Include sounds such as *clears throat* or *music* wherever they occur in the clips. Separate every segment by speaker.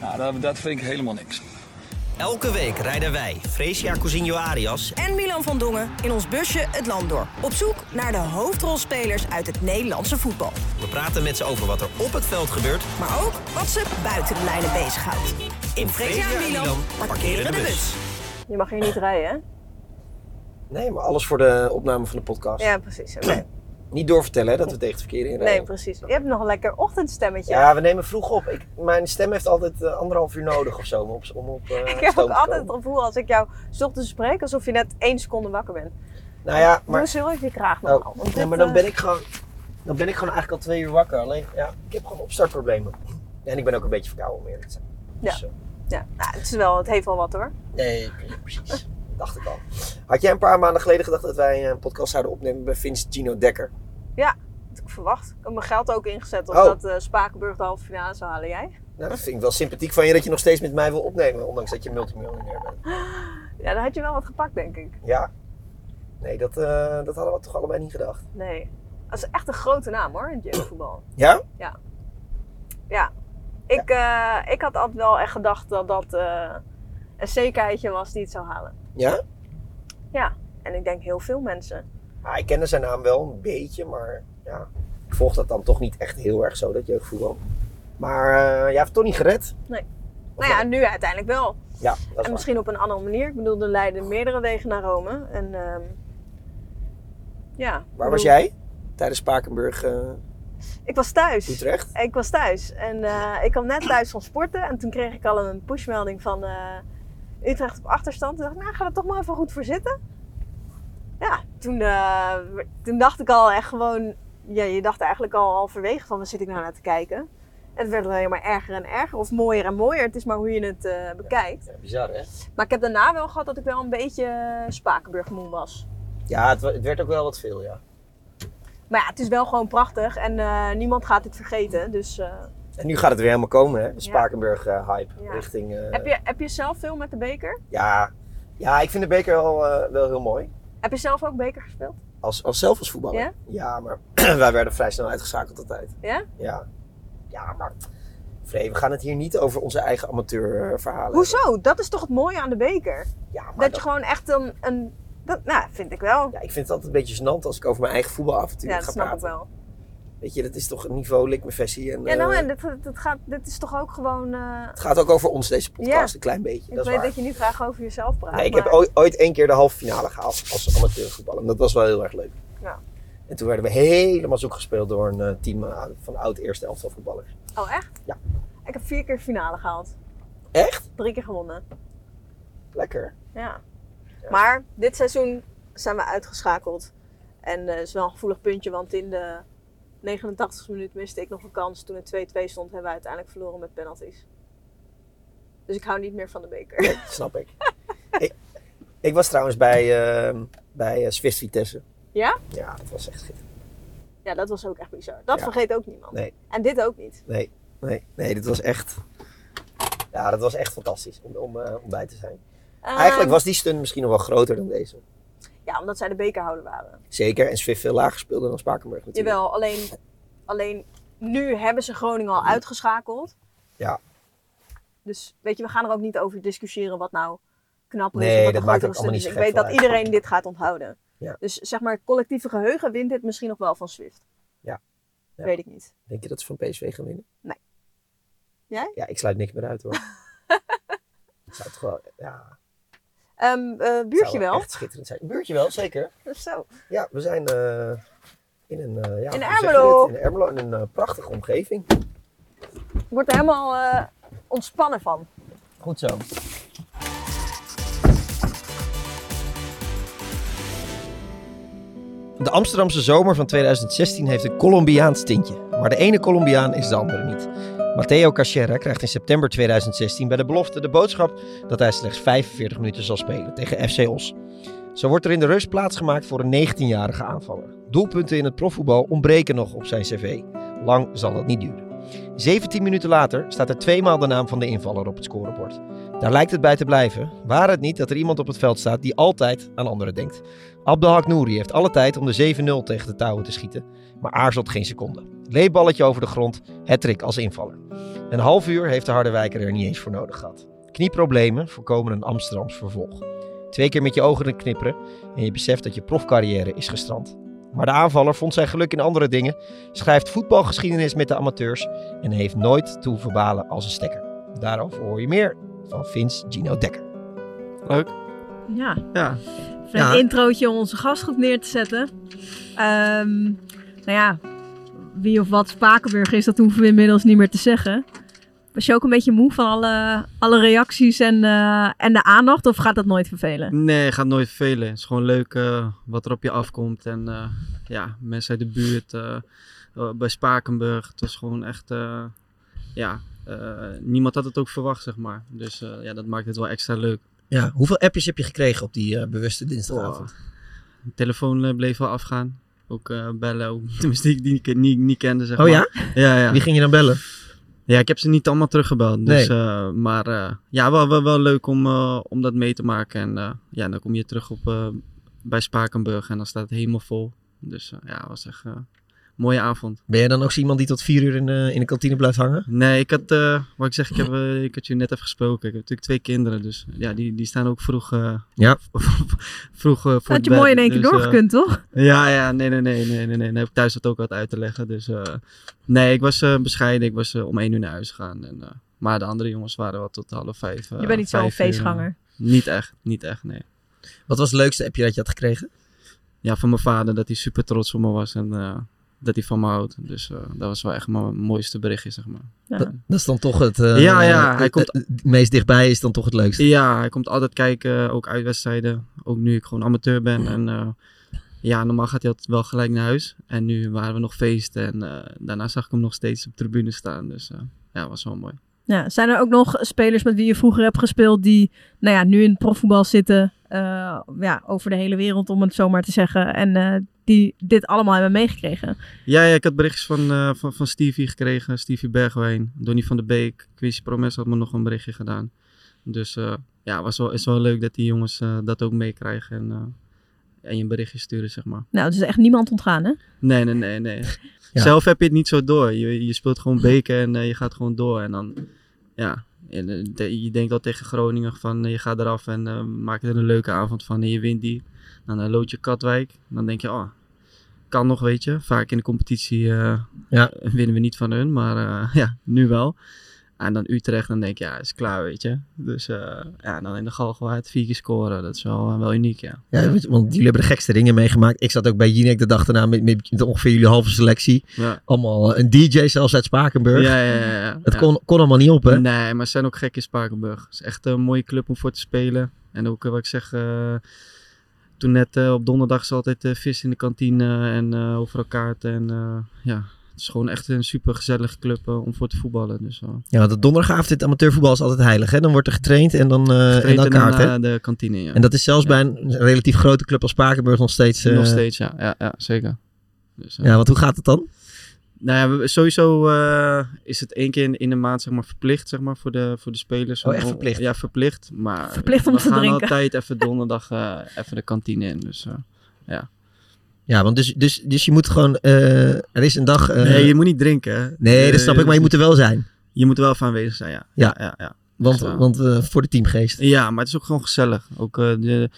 Speaker 1: nou, dat, dat vind ik helemaal niks.
Speaker 2: Elke week rijden wij, Fresia Cousinho Arias,
Speaker 3: en Milan van Dongen in ons busje het land door. Op zoek naar de hoofdrolspelers uit het Nederlandse voetbal.
Speaker 2: we praten met ze over wat er op het veld gebeurt.
Speaker 3: Maar ook wat ze buiten de lijnen bezighoudt. In Fresia en Milan parkeren de bus. Je mag hier niet rijden, hè?
Speaker 4: Nee, maar alles voor de opname van de podcast.
Speaker 3: Ja, precies.
Speaker 4: Niet doorvertellen hè, dat we tegen het verkeer inrijden.
Speaker 3: Nee, precies. Je hebt nog een lekker ochtendstemmetje.
Speaker 4: Ja, we nemen vroeg op. Ik, mijn stem heeft altijd eh, anderhalf uur nodig of zo om op, om op eh,
Speaker 3: *laughs* *laughs* ik heb
Speaker 4: stoom
Speaker 3: ook
Speaker 4: te
Speaker 3: altijd het
Speaker 4: komen.
Speaker 3: gevoel als ik jou 's ochtends spreek, alsof je net één seconde wakker bent.
Speaker 4: Nou ja,
Speaker 3: Maar,
Speaker 4: maar,
Speaker 3: Doe heel even je nou? kraag nog
Speaker 4: oh, nee, maar
Speaker 3: eh,
Speaker 4: dan ben ik gewoon, dan ben ik gewoon eigenlijk al twee uur wakker. Alleen, ja, ik heb gewoon opstartproblemen. En ik ben ook een beetje verkouden om eerlijk te zijn. Dus, eh,
Speaker 3: Ja, nou, het, is wel, het heeft wel wat hoor.
Speaker 4: nee, precies. Dacht ik al. Had jij een paar maanden geleden gedacht dat wij een podcast zouden opnemen bij Vince Gino Dekker?
Speaker 3: Dat heb ik verwacht. Ik heb mijn geld ook ingezet op
Speaker 4: Oh.
Speaker 3: dat eh, Spakenburg de halve finale zou halen. Jij?
Speaker 4: Nou, dat vind ik wel sympathiek van je dat je nog steeds met mij wil opnemen, ondanks dat je multimiljonair bent.
Speaker 3: Ja, dan had je wel wat gepakt, denk ik.
Speaker 4: Ja. Nee, dat, eh, dat hadden we toch allebei niet gedacht.
Speaker 3: Nee. Dat is echt een grote naam hoor, in het jeugdvoetbal.
Speaker 4: Ja?
Speaker 3: Ik, eh, ik had altijd wel echt gedacht dat dat eh, een zekerheidje was die het zou halen.
Speaker 4: Ja?
Speaker 3: En ik denk heel veel mensen.
Speaker 4: Ah, ik kende zijn naam wel een beetje, maar ja. Ik volg dat dan toch niet echt heel erg zo, dat jeugdvoetbal. Maar eh, jij hebt het toch niet gered?
Speaker 3: Nee.
Speaker 4: Of
Speaker 3: Nou ja,
Speaker 4: wel?
Speaker 3: nu uiteindelijk wel.
Speaker 4: ja, dat is
Speaker 3: En
Speaker 4: waar.
Speaker 3: misschien op een andere manier. Ik bedoel, er leiden meerdere wegen naar Rome. En ehm, ja. ik
Speaker 4: Waar
Speaker 3: bedoel,
Speaker 4: was jij? Tijdens Spakenburg, eh,
Speaker 3: Ik was thuis.
Speaker 4: Utrecht?
Speaker 3: Ik was thuis. En eh, ik kwam net thuis van sporten. En toen kreeg ik al een pushmelding van eh, Utrecht op achterstand. Toen dacht ik, nou, ga er toch maar even goed voor zitten. Ja, toen, eh, toen dacht ik al echt gewoon... Ja, je dacht eigenlijk al halverwege van, waar zit ik nou naar te kijken? En het werd alleen maar erger en erger. Of mooier en mooier. Het is maar hoe je het eh, bekijkt.
Speaker 4: Ja, bizar hè?
Speaker 3: Maar ik heb daarna wel gehad dat ik wel een beetje eh, Spakenburg-moe was.
Speaker 4: Ja, het, wa- het werd ook wel wat veel, ja.
Speaker 3: Maar ja, het is wel gewoon prachtig en eh, niemand gaat dit vergeten. Dus eh,
Speaker 4: En nu gaat het weer helemaal komen hè? De Spakenburg-hype
Speaker 3: Ja.
Speaker 4: richting... eh,
Speaker 3: heb, je, heb je zelf veel met de beker?
Speaker 4: ja. ja, ik vind de beker wel, eh, wel heel mooi.
Speaker 3: Heb je zelf ook beker gespeeld?
Speaker 4: Als, als zelf als voetballer?
Speaker 3: Ja?
Speaker 4: maar *clears throat* wij werden vrij snel uitgeschakeld altijd.
Speaker 3: Ja?
Speaker 4: Ja. Ja, maar... Vree, we gaan het hier niet over onze eigen amateurverhalen.
Speaker 3: Hoezo? Dat is toch het mooie aan de beker?
Speaker 4: Ja, maar
Speaker 3: dat
Speaker 4: dat-
Speaker 3: je gewoon echt een... een dat, nou, vind ik wel.
Speaker 4: ja, ik vind het altijd een beetje gênant als ik over mijn eigen voetbalavontuur
Speaker 3: Ja,
Speaker 4: ga
Speaker 3: dat snap ik
Speaker 4: praten.
Speaker 3: wel.
Speaker 4: Weet je, dat is toch een niveau likmefessie. En,
Speaker 3: Ja, nou,
Speaker 4: eh,
Speaker 3: en dit, dit, gaat, dit is toch ook gewoon... eh,
Speaker 4: Het gaat ook over ons, deze podcast,
Speaker 3: Ja.
Speaker 4: een klein beetje.
Speaker 3: ik
Speaker 4: dat
Speaker 3: weet
Speaker 4: is waar.
Speaker 3: dat je nu graag over jezelf praat.
Speaker 4: Nee, ik
Speaker 3: maar-
Speaker 4: heb ooit, ooit één keer de halve finale gehaald als amateurvoetballer. En dat was wel heel erg leuk.
Speaker 3: Ja.
Speaker 4: En toen werden we helemaal zoek gespeeld door een eh, team eh, van oud eerste elftal voetballers.
Speaker 3: Oh, echt?
Speaker 4: Ja.
Speaker 3: Ik heb vier keer finale gehaald.
Speaker 4: Echt?
Speaker 3: Drie keer gewonnen.
Speaker 4: Lekker.
Speaker 3: Ja. Maar dit seizoen zijn we uitgeschakeld. En eh, het is wel een gevoelig puntje, want in de 89 e minuut miste ik nog een kans. Toen het 2-2 stond, hebben we uiteindelijk verloren met penalties. Dus ik hou niet meer van de beker.
Speaker 4: Nee, snap ik. ik. Ik was trouwens bij, eh bij eh, Swift Vitesse.
Speaker 3: Ja?
Speaker 4: Ja, dat was echt schitterend.
Speaker 3: Ja, dat was ook echt bizar. Dat
Speaker 4: Ja.
Speaker 3: vergeet ook niemand.
Speaker 4: Nee.
Speaker 3: En dit ook niet.
Speaker 4: Nee, nee, nee, dit was echt... Ja, dat was echt fantastisch om, om, eh, om bij te zijn. Eigenlijk
Speaker 3: Ehm,
Speaker 4: was die stunt misschien nog wel groter dan deze.
Speaker 3: Ja, omdat zij de bekerhouder waren.
Speaker 4: Zeker, en Swift veel lager speelde dan Spakenburg natuurlijk.
Speaker 3: Jawel, alleen, alleen nu hebben ze Groningen al uitgeschakeld.
Speaker 4: Ja.
Speaker 3: Dus weet je, we gaan er ook niet over discussiëren wat nou knapper is.
Speaker 4: Nee,
Speaker 3: of wat
Speaker 4: dat
Speaker 3: de
Speaker 4: maakt
Speaker 3: grotere
Speaker 4: ook allemaal niet
Speaker 3: stunt is.
Speaker 4: zo
Speaker 3: Ik
Speaker 4: gek
Speaker 3: weet dat
Speaker 4: veel uit.
Speaker 3: iedereen dit gaat onthouden.
Speaker 4: Ja.
Speaker 3: Dus zeg maar, het collectieve geheugen wint dit misschien nog wel van Swift.
Speaker 4: Ja. Ja.
Speaker 3: Weet ik niet.
Speaker 4: Denk je dat ze van PSV gaan winnen?
Speaker 3: Nee. Jij?
Speaker 4: Ja, ik sluit niks meer
Speaker 3: *laughs*
Speaker 4: uit hoor. ik zou het gewoon, ja.
Speaker 3: Ehm eh,
Speaker 4: het
Speaker 3: buurtje
Speaker 4: zou
Speaker 3: wel.
Speaker 4: Echt schitterend zijn. Buurtje wel, zeker.
Speaker 3: Zo.
Speaker 4: Ja, we zijn eh, in een, eh, ja,
Speaker 3: In
Speaker 4: hoe zeg je
Speaker 3: Ermelo.
Speaker 4: dit? In Ermelo, in een eh, prachtige omgeving.
Speaker 3: Ik word er helemaal eh, ontspannen van.
Speaker 4: Goed zo. De Amsterdamse zomer van 2016 heeft een Colombiaans tintje. Maar de ene Colombiaan is de andere niet. Matteo Cachera krijgt in september 2016 bij de belofte de boodschap dat hij slechts 45 minuten zal spelen tegen FC Os. Zo wordt er in de rust plaatsgemaakt voor een 19-jarige aanvaller. Doelpunten in het profvoetbal ontbreken nog op zijn cv. Lang zal dat niet duren. 17 minuten later staat er tweemaal de naam van de invaller op het scorebord. Daar lijkt het bij te blijven, waar het niet dat er iemand op het veld staat die altijd aan anderen denkt. Abdelhak Nouri heeft alle tijd om de 7-0 tegen de touwen te schieten, maar aarzelt geen seconde. Leeballetje over de grond, hattrick als invaller. Een half uur heeft de Harderwijker er niet eens voor nodig gehad. Knieproblemen voorkomen een Amsterdams vervolg. Twee keer met je ogen knipperen en je beseft dat je profcarrière is gestrand. Maar de aanvaller vond zijn geluk in andere dingen, schrijft voetbalgeschiedenis met de amateurs en heeft nooit te hoeven balen als een stekker. Daarover hoor je meer van Vince Gino Dekker. Leuk.
Speaker 3: Ja.
Speaker 4: Ja.
Speaker 3: Even een
Speaker 4: Ja.
Speaker 3: introotje om onze gastgroep neer te zetten. Ehm, nou ja, wie of wat Spakenburg is, dat hoeven we inmiddels niet meer te zeggen. Was je ook een beetje moe van alle, alle reacties en, eh, en de aandacht? Of gaat dat nooit vervelen?
Speaker 5: Nee, gaat nooit vervelen. Het is gewoon leuk eh, wat er op je afkomt. En eh, ja, mensen uit de buurt, eh, eh, bij Spakenburg. Het was gewoon echt, eh, ja, eh, niemand had het ook verwacht, zeg maar. Dus eh, ja, dat maakt het wel extra leuk.
Speaker 4: Ja, hoeveel appjes heb je gekregen op die eh, bewuste dinsdagavond?
Speaker 5: De telefoon eh, bleef wel afgaan. Ook eh, bellen, ook, *laughs* tenminste die ik niet, ken- niet, niet kende, zeg
Speaker 4: Oh
Speaker 5: maar.
Speaker 4: ja?
Speaker 5: Ja, ja.
Speaker 4: Wie ging je dan bellen?
Speaker 5: Ja, ik heb ze niet allemaal teruggebeld. Dus,
Speaker 4: Nee.
Speaker 5: eh, maar eh, ja, wel, wel, wel leuk om, eh, om dat mee te maken. En eh, ja, dan kom je terug op, eh, bij Spakenburg en dan staat het helemaal vol. Dus eh, ja, was echt eh, een mooie avond.
Speaker 4: Ben jij dan ook zo iemand die tot vier uur in, eh, in de kantine blijft hangen?
Speaker 5: Nee, ik had, eh, wat ik zeg, ik, heb, eh, ik had je net even gesproken. Ik heb natuurlijk twee kinderen, dus ja, die, die staan ook vroeg, eh, *laughs*
Speaker 4: Ja.
Speaker 5: vroeg eh, voor het
Speaker 3: Had je
Speaker 5: bed.
Speaker 3: mooi in één keer
Speaker 5: Dus, eh,
Speaker 3: doorgekund, toch?
Speaker 5: Ja, ja, nee, nee, nee, nee, nee, nee. Dan heb ik thuis dat ook wat uit te leggen. Dus eh, nee, ik was eh, bescheiden. Ik was eh, om één uur naar huis gegaan. En, eh, maar de andere jongens waren wel tot half vijf. eh,
Speaker 3: Je bent niet zo'n
Speaker 5: vijf uur, eh,
Speaker 3: feestganger.
Speaker 5: niet echt, niet echt, nee.
Speaker 4: Wat was het leukste appje dat je had gekregen?
Speaker 5: Ja, van mijn vader dat hij super trots op me was en eh, dat hij van me houdt. Dus eh, dat was wel echt mijn mooiste berichtje, zeg maar.
Speaker 3: Ja.
Speaker 4: Dat, dat is dan toch het. eh,
Speaker 5: Ja, ja,
Speaker 4: eh,
Speaker 5: hij komt-
Speaker 4: eh, Het meest dichtbij is dan toch het leukste.
Speaker 5: Ja, hij komt altijd kijken, eh, ook uit wedstrijden. Ook nu ik gewoon amateur ben. En eh, ja, normaal gaat hij altijd wel gelijk naar huis. En nu waren we nog feest en eh, daarna zag ik hem nog steeds op de tribune staan. Dus eh, ja, was wel mooi.
Speaker 3: Ja, zijn er ook nog spelers met wie je vroeger hebt gespeeld die nou ja, nu in het profvoetbal zitten, eh, ja, over de hele wereld om het zo maar te zeggen, en eh, die dit allemaal hebben meegekregen?
Speaker 5: Ja, ja ik had berichtjes van, eh, van, van Stevie gekregen. Stevie Bergwijn, Donny van der Beek, Quincy Promes had me nog een berichtje gedaan. Dus eh, ja, was wel, is wel leuk dat die jongens eh, dat ook meekrijgen en, eh, en je een berichtje sturen, zeg maar.
Speaker 3: Nou, het is echt niemand ontgaan, hè?
Speaker 5: Nee, nee, nee, nee. Zelf heb je het niet zo door. Je, je speelt gewoon beken en eh, je gaat gewoon door. En dan, ja, en, eh, de- je denkt al tegen Groningen van eh, je gaat eraf en eh, maak er een leuke avond van en je wint die. Dan eh, lood je Katwijk. Dan denk je, oh, kan nog, weet je. Vaak in de competitie eh, winnen we niet van hun, maar eh, *laughs* ja, nu wel. En dan Utrecht, dan denk je, ja, is klaar, weet je. Dus eh, ja, dan in de Galgenwaard vier keer scoren. Dat is wel, eh, wel uniek, ja.
Speaker 4: Ja, want want jullie hebben de gekste dingen meegemaakt. Ik zat ook bij Jinek de dag daarna met, met, met ongeveer jullie halve selectie.
Speaker 5: Ja.
Speaker 4: Allemaal eh, een DJ zelfs uit Spakenburg.
Speaker 5: Ja, ja, ja, ja.
Speaker 4: Het
Speaker 5: Ja.
Speaker 4: kon, kon allemaal niet op, hè?
Speaker 5: Nee, maar ze zijn ook gek in Spakenburg. Het is echt een mooie club om voor te spelen. En ook eh, wat ik zeg, eh, toen net eh, op donderdag is altijd eh, vis in de kantine en eh overal kaarten. En eh, ja, het is gewoon echt een super gezellige club eh, om voor te voetballen. Dus, eh,
Speaker 4: Ja, want op donderdagavond dit amateurvoetbal is altijd heilig, hè? Dan wordt er getraind en dan, eh en
Speaker 5: Getraind
Speaker 4: dan
Speaker 5: en dan,
Speaker 4: kaart, hè?
Speaker 5: eh, de kantine, ja.
Speaker 4: En dat is zelfs bij een relatief grote club als Spakenburg nog steeds... eh,
Speaker 5: Nog steeds, ja. Ja, ja zeker. Dus, eh,
Speaker 4: Ja, want hoe gaat het dan?
Speaker 5: Nou ja, we- sowieso eh, is het één keer in, in de maand zeg maar, verplicht zeg maar, voor, de, voor de spelers.
Speaker 4: Oh, echt
Speaker 5: Om-
Speaker 4: verplicht?
Speaker 5: Ja, verplicht. Maar
Speaker 4: Verplicht om
Speaker 5: we
Speaker 4: te
Speaker 5: gaan
Speaker 4: drinken.
Speaker 5: altijd even donderdag eh, even de kantine in. Dus eh, ja.
Speaker 4: Ja, want dus, dus, dus je moet gewoon... eh, er is een dag... eh,
Speaker 5: nee, je moet niet drinken. hè.
Speaker 4: Nee, dat
Speaker 5: Eh,
Speaker 4: snap ik, maar je moet er wel zijn.
Speaker 5: Je moet er wel van aanwezig zijn, ja.
Speaker 4: Ja,
Speaker 5: ja, ja.
Speaker 4: Want,
Speaker 5: Dus, eh,
Speaker 4: want eh, voor de teamgeest.
Speaker 5: Ja, maar het is ook gewoon gezellig. Ook, eh, de,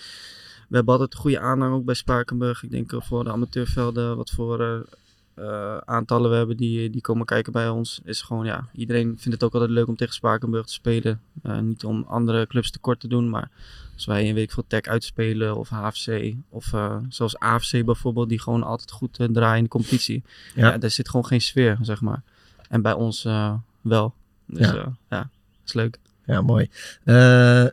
Speaker 5: we hebben altijd een goede aanhang ook bij Spakenburg. Ik denk eh, voor de amateurvelden, wat voor eh, eh, aantallen we hebben die, die komen kijken bij ons. Is gewoon, ja, iedereen vindt het ook altijd leuk om tegen Spakenburg te spelen. Eh, niet om andere clubs tekort te doen, maar als wij een week veel tech uitspelen of HFC of eh, zelfs AFC bijvoorbeeld, die gewoon altijd goed eh, draaien in de competitie.
Speaker 4: Ja.
Speaker 5: Ja. daar zit gewoon geen sfeer, zeg maar. En bij ons eh, wel. Dus
Speaker 4: Ja.
Speaker 5: ja, ja is leuk.
Speaker 4: Ja, mooi. Eh,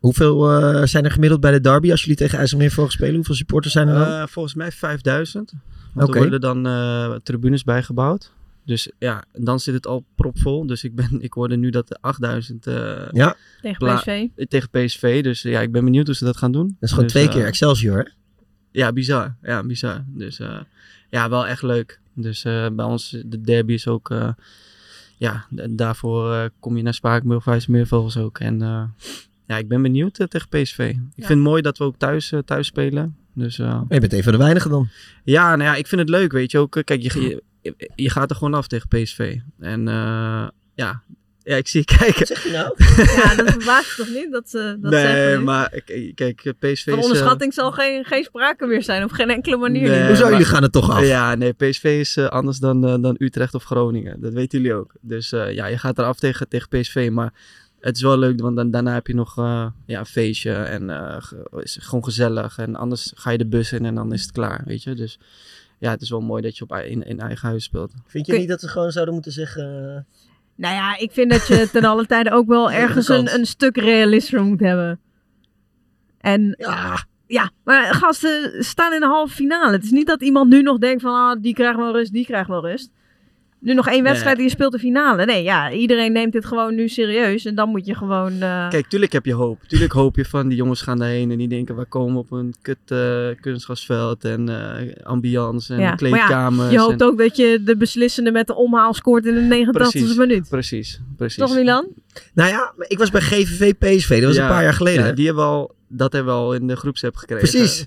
Speaker 4: hoeveel eh, zijn er gemiddeld bij de derby als jullie tegen IJsselmeer mogen spelen? Hoeveel supporters zijn er dan?
Speaker 5: Eh, volgens mij 5000. Want
Speaker 4: Oké.
Speaker 5: Er worden dan eh, tribunes bijgebouwd. Dus ja, dan zit het al propvol. Dus ik, ben, *laughs* ik hoorde nu dat de 8000... eh,
Speaker 4: Ja.
Speaker 3: Tegen
Speaker 5: pla-
Speaker 3: PSV.
Speaker 5: eh, Tegen PSV. Dus eh, ja, ik ben benieuwd hoe ze dat gaan doen. Dat
Speaker 4: is gewoon twee keer Excelsior, hè?
Speaker 5: Ja, bizar. Ja, bizar. Dus eh, ja, wel echt leuk. Dus eh, bij ons, de derby is ook... eh, ja, da- daarvoor eh, kom je naar Spakenburg, Vijs Meervogels ook. En eh, ja, ik ben benieuwd eh, tegen PSV. Ik vind het mooi dat we ook thuis, eh, thuis spelen. Dus, eh,
Speaker 4: Je bent een van de weinigen dan.
Speaker 5: ja, nou ja, ik vind het leuk, weet je ook. eh, Kijk, je, je, je gaat er gewoon af tegen PSV. En eh, ja. ja, ik zie *laughs* je kijken.
Speaker 3: Ja, dat verbaast toch niet? Dat, ze dat zeggen
Speaker 5: nee,
Speaker 3: we nu.
Speaker 5: maar k- kijk, PSV
Speaker 3: Van
Speaker 5: is... eh,
Speaker 3: onderschatting zal geen, geen sprake meer zijn, op geen enkele manier.
Speaker 5: nee,
Speaker 3: nu.
Speaker 5: Eh, maar-
Speaker 3: Ja.
Speaker 5: Ja, nee, PSV is eh, anders dan, eh, dan Utrecht of Groningen. Dat weten jullie ook. Dus eh, ja, je gaat eraf tegen, tegen PSV, maar... Het is wel leuk, want dan, daarna heb je nog eh, ja, een feestje en eh, ge- is het gewoon gezellig. En anders ga je de bus in en dan is het klaar, weet je. Dus ja, het is wel mooi dat je op, ei- in, in eigen huis speelt.
Speaker 4: Vind je
Speaker 3: Kun-
Speaker 4: niet dat ze gewoon zouden moeten zeggen... eh,
Speaker 3: Nou ja, ik vind dat
Speaker 5: *laughs*
Speaker 3: je ten alle tijde ook wel ergens
Speaker 4: kant.
Speaker 3: een, een stuk realisme moet hebben. En
Speaker 4: ja.
Speaker 3: maar gasten staan in de halve finale. Het is niet dat iemand nu nog denkt van ah, die krijgt wel rust, die krijgt wel rust. Nu nog één wedstrijd
Speaker 5: Nee.
Speaker 3: en je speelt de finale. Nee, ja, iedereen neemt dit gewoon nu serieus. En dan moet je gewoon... eh,
Speaker 5: Kijk, tuurlijk heb je hoop. Tuurlijk hoop je van die jongens gaan daarheen en die denken, we komen op een kut eh, kunstgrasveld en eh, ambiance en
Speaker 3: ja. Maar ja,
Speaker 5: kleedkamers.
Speaker 3: je hoopt
Speaker 5: en-
Speaker 3: ook dat je de beslissende met de omhaal scoort in de 89e
Speaker 5: Precies,
Speaker 3: minuut.
Speaker 5: Precies, precies.
Speaker 3: Toch Milan?
Speaker 4: Nou ja, maar ik was bij GVV PSV. Dat was
Speaker 5: Ja,
Speaker 4: een paar jaar geleden.
Speaker 5: ja, die hebben we al, dat hebben we al in de groepsapp gekregen.
Speaker 4: Precies.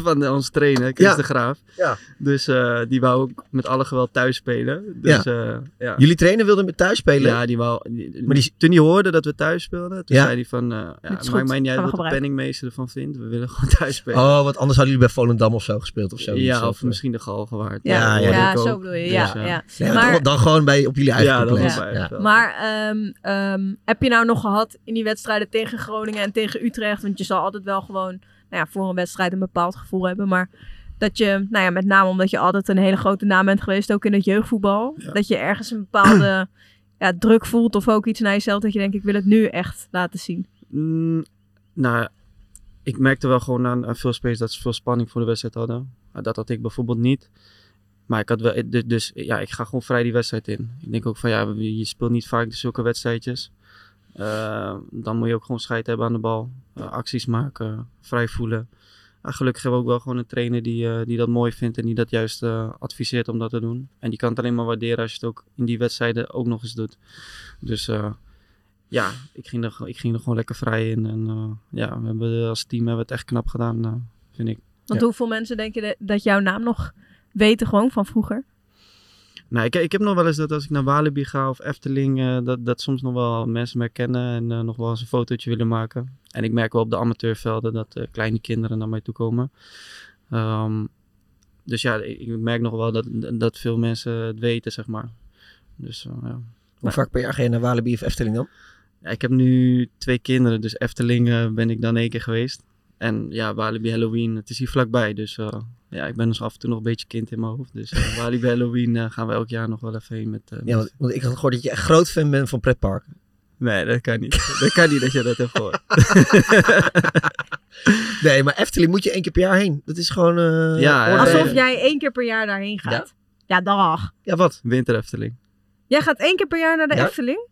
Speaker 5: *laughs* Van de- onze trainer, Chris
Speaker 4: Ja.
Speaker 5: de Graaf.
Speaker 4: Ja.
Speaker 5: Dus eh, die wou ook met alle geweld thuis spelen. Dus, ja. ja.
Speaker 4: Jullie trainer wilden met thuis spelen?
Speaker 5: Ja, die wou... Die,
Speaker 4: Maar die-
Speaker 5: Toen die hoorde dat we thuis speelden, toen
Speaker 4: Ja.
Speaker 5: zei hij van... eh ja,
Speaker 4: Dit is
Speaker 5: maakt
Speaker 4: goed,
Speaker 5: mij niet
Speaker 4: gaan we
Speaker 5: uit wat de
Speaker 4: gebruiken.
Speaker 5: penningmeester ervan vindt. We willen gewoon thuis spelen.
Speaker 4: Oh, want anders hadden jullie bij Volendam of zo gespeeld of eh, zo.
Speaker 5: Ja,
Speaker 4: Iets
Speaker 5: of misschien de Galgenwaard.
Speaker 3: Ja,
Speaker 5: Dat hoorde
Speaker 3: ja,
Speaker 5: ik ook.
Speaker 3: zo bedoel je,
Speaker 5: Dus,
Speaker 3: ja,
Speaker 5: eh,
Speaker 3: ja.
Speaker 4: Nee,
Speaker 3: Maar-
Speaker 4: dan, dan gewoon bij, op jullie eigen
Speaker 5: Ja, dan
Speaker 4: complex.
Speaker 5: op mijn eigen
Speaker 3: Maar ehm, ehm, heb je nou nog gehad in die wedstrijden tegen Groningen en tegen Utrecht? Want je zal altijd wel gewoon nou ja, voor een wedstrijd een bepaald gevoel hebben. Maar dat je, nou ja, met name omdat je altijd een hele grote naam bent geweest, ook in het jeugdvoetbal. Dat je ergens een bepaalde *clears throat* ja, druk voelt of ook iets naar jezelf. Dat je denkt, ik wil het nu echt laten zien.
Speaker 5: Mm, nou, ik merkte wel gewoon aan, aan veel spelers dat ze veel spanning voor de wedstrijd hadden. Maar Dat had ik bijvoorbeeld niet. Maar ik had wel, dus, dus ja, ik ga gewoon vrij die wedstrijd in. Ik denk ook van ja, je speelt niet vaak zulke wedstrijdjes. Eh, dan moet je ook gewoon scheid hebben aan de bal. Eh, acties maken, vrij voelen. Ja, gelukkig hebben we ook wel gewoon een trainer die, eh, die dat mooi vindt en die dat juist eh, adviseert om dat te doen. En die kan het alleen maar waarderen als je het ook in die wedstrijden ook nog eens doet. Dus eh, ja, ik ging, er, gewoon- ik ging er gewoon lekker vrij in. En eh, ja, we hebben, als team hebben we het echt knap gedaan, eh, vind ik.
Speaker 3: Want
Speaker 5: Ja.
Speaker 3: hoeveel mensen denk je de- dat jouw naam nog weten gewoon van vroeger?
Speaker 5: Nou, ik, ik heb nog wel eens dat als ik naar Walibi ga of Efteling, eh, dat, dat soms nog wel mensen me herkennen en eh, nog wel eens een fotootje willen maken. En ik merk wel op de amateurvelden dat eh, kleine kinderen naar mij toe komen. Ehm, dus ja, ik, ik merk nog wel dat, dat veel mensen het weten, zeg maar. Dus eh, ja.
Speaker 4: Hoe vaak per jaar ga je naar Walibi of Efteling dan?
Speaker 5: Ja, ik heb nu twee kinderen, dus Efteling eh, ben ik dan één keer geweest. En ja, Walibi Halloween, het is hier vlakbij, dus eh, ja, ik ben dus af en toe nog een beetje kind in mijn hoofd.
Speaker 4: *laughs*
Speaker 5: Dus eh, Walibi Halloween eh, gaan we elk jaar nog wel even heen met... eh,
Speaker 4: Ja,
Speaker 5: met-
Speaker 4: want, want ik had gehoord dat je echt groot fan bent van pretparken.
Speaker 5: Nee, dat kan niet. dat kan niet dat je dat hebt gehoord.
Speaker 4: *laughs*
Speaker 5: Ah,
Speaker 4: nee, maar Efteling moet je één keer per jaar heen. Dat is gewoon... eh,
Speaker 5: Ja,
Speaker 4: orde.
Speaker 3: Alsof jij één keer per jaar daarheen gaat. Ja, dag.
Speaker 4: Ja, wat?
Speaker 5: Winter Efteling.
Speaker 3: Jij gaat één keer per jaar naar de
Speaker 5: Ja.
Speaker 3: Efteling?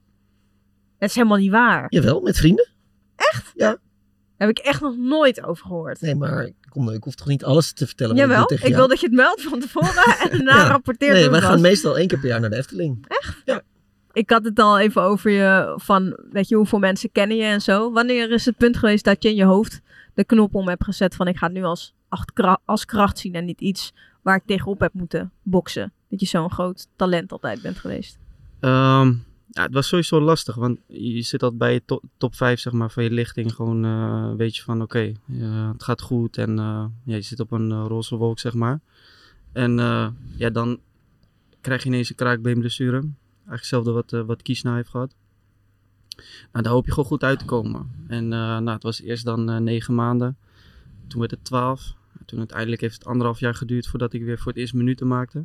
Speaker 3: Dat is helemaal niet waar.
Speaker 4: Jawel, met vrienden.
Speaker 3: Echt?
Speaker 4: Ja.
Speaker 3: Daar heb ik echt nog nooit over gehoord.
Speaker 4: Nee, maar kom, ik hoef toch niet alles te vertellen? wat
Speaker 3: Jawel,
Speaker 4: doe
Speaker 3: ik,
Speaker 4: tegen jou?
Speaker 3: wil dat je het meldt van tevoren
Speaker 4: *laughs*
Speaker 3: en daarna rapporteert
Speaker 4: Nee,
Speaker 3: hoe
Speaker 4: wij
Speaker 3: het
Speaker 4: gaan
Speaker 3: was.
Speaker 4: meestal één keer per jaar naar de Efteling.
Speaker 3: Ik had het al even over je, van weet je, hoeveel mensen kennen je en zo. Wanneer is het punt geweest dat je in je hoofd de knop om hebt gezet van ik ga het nu als, acht kra- als kracht zien en niet iets waar ik tegenop heb moeten boksen? Dat je zo'n groot talent altijd bent geweest.
Speaker 5: Ehm, ja, het was sowieso lastig, want je zit al bij je to- top 5 zeg maar, van je lichting. Gewoon eh, weet je van oké, eh, het gaat goed en eh, ja, je zit op een eh, roze wolk, zeg maar. En eh, ja, dan krijg je ineens een kraakbeenblessure. Eigenlijk hetzelfde wat, eh wat Kiesna heeft gehad. Nou, daar hoop je gewoon goed uit te komen. En eh, nou, het was eerst dan eh, negen maanden. Toen werd het twaalf. Toen uiteindelijk heeft het anderhalf jaar geduurd voordat ik weer voor het eerst minuten maakte.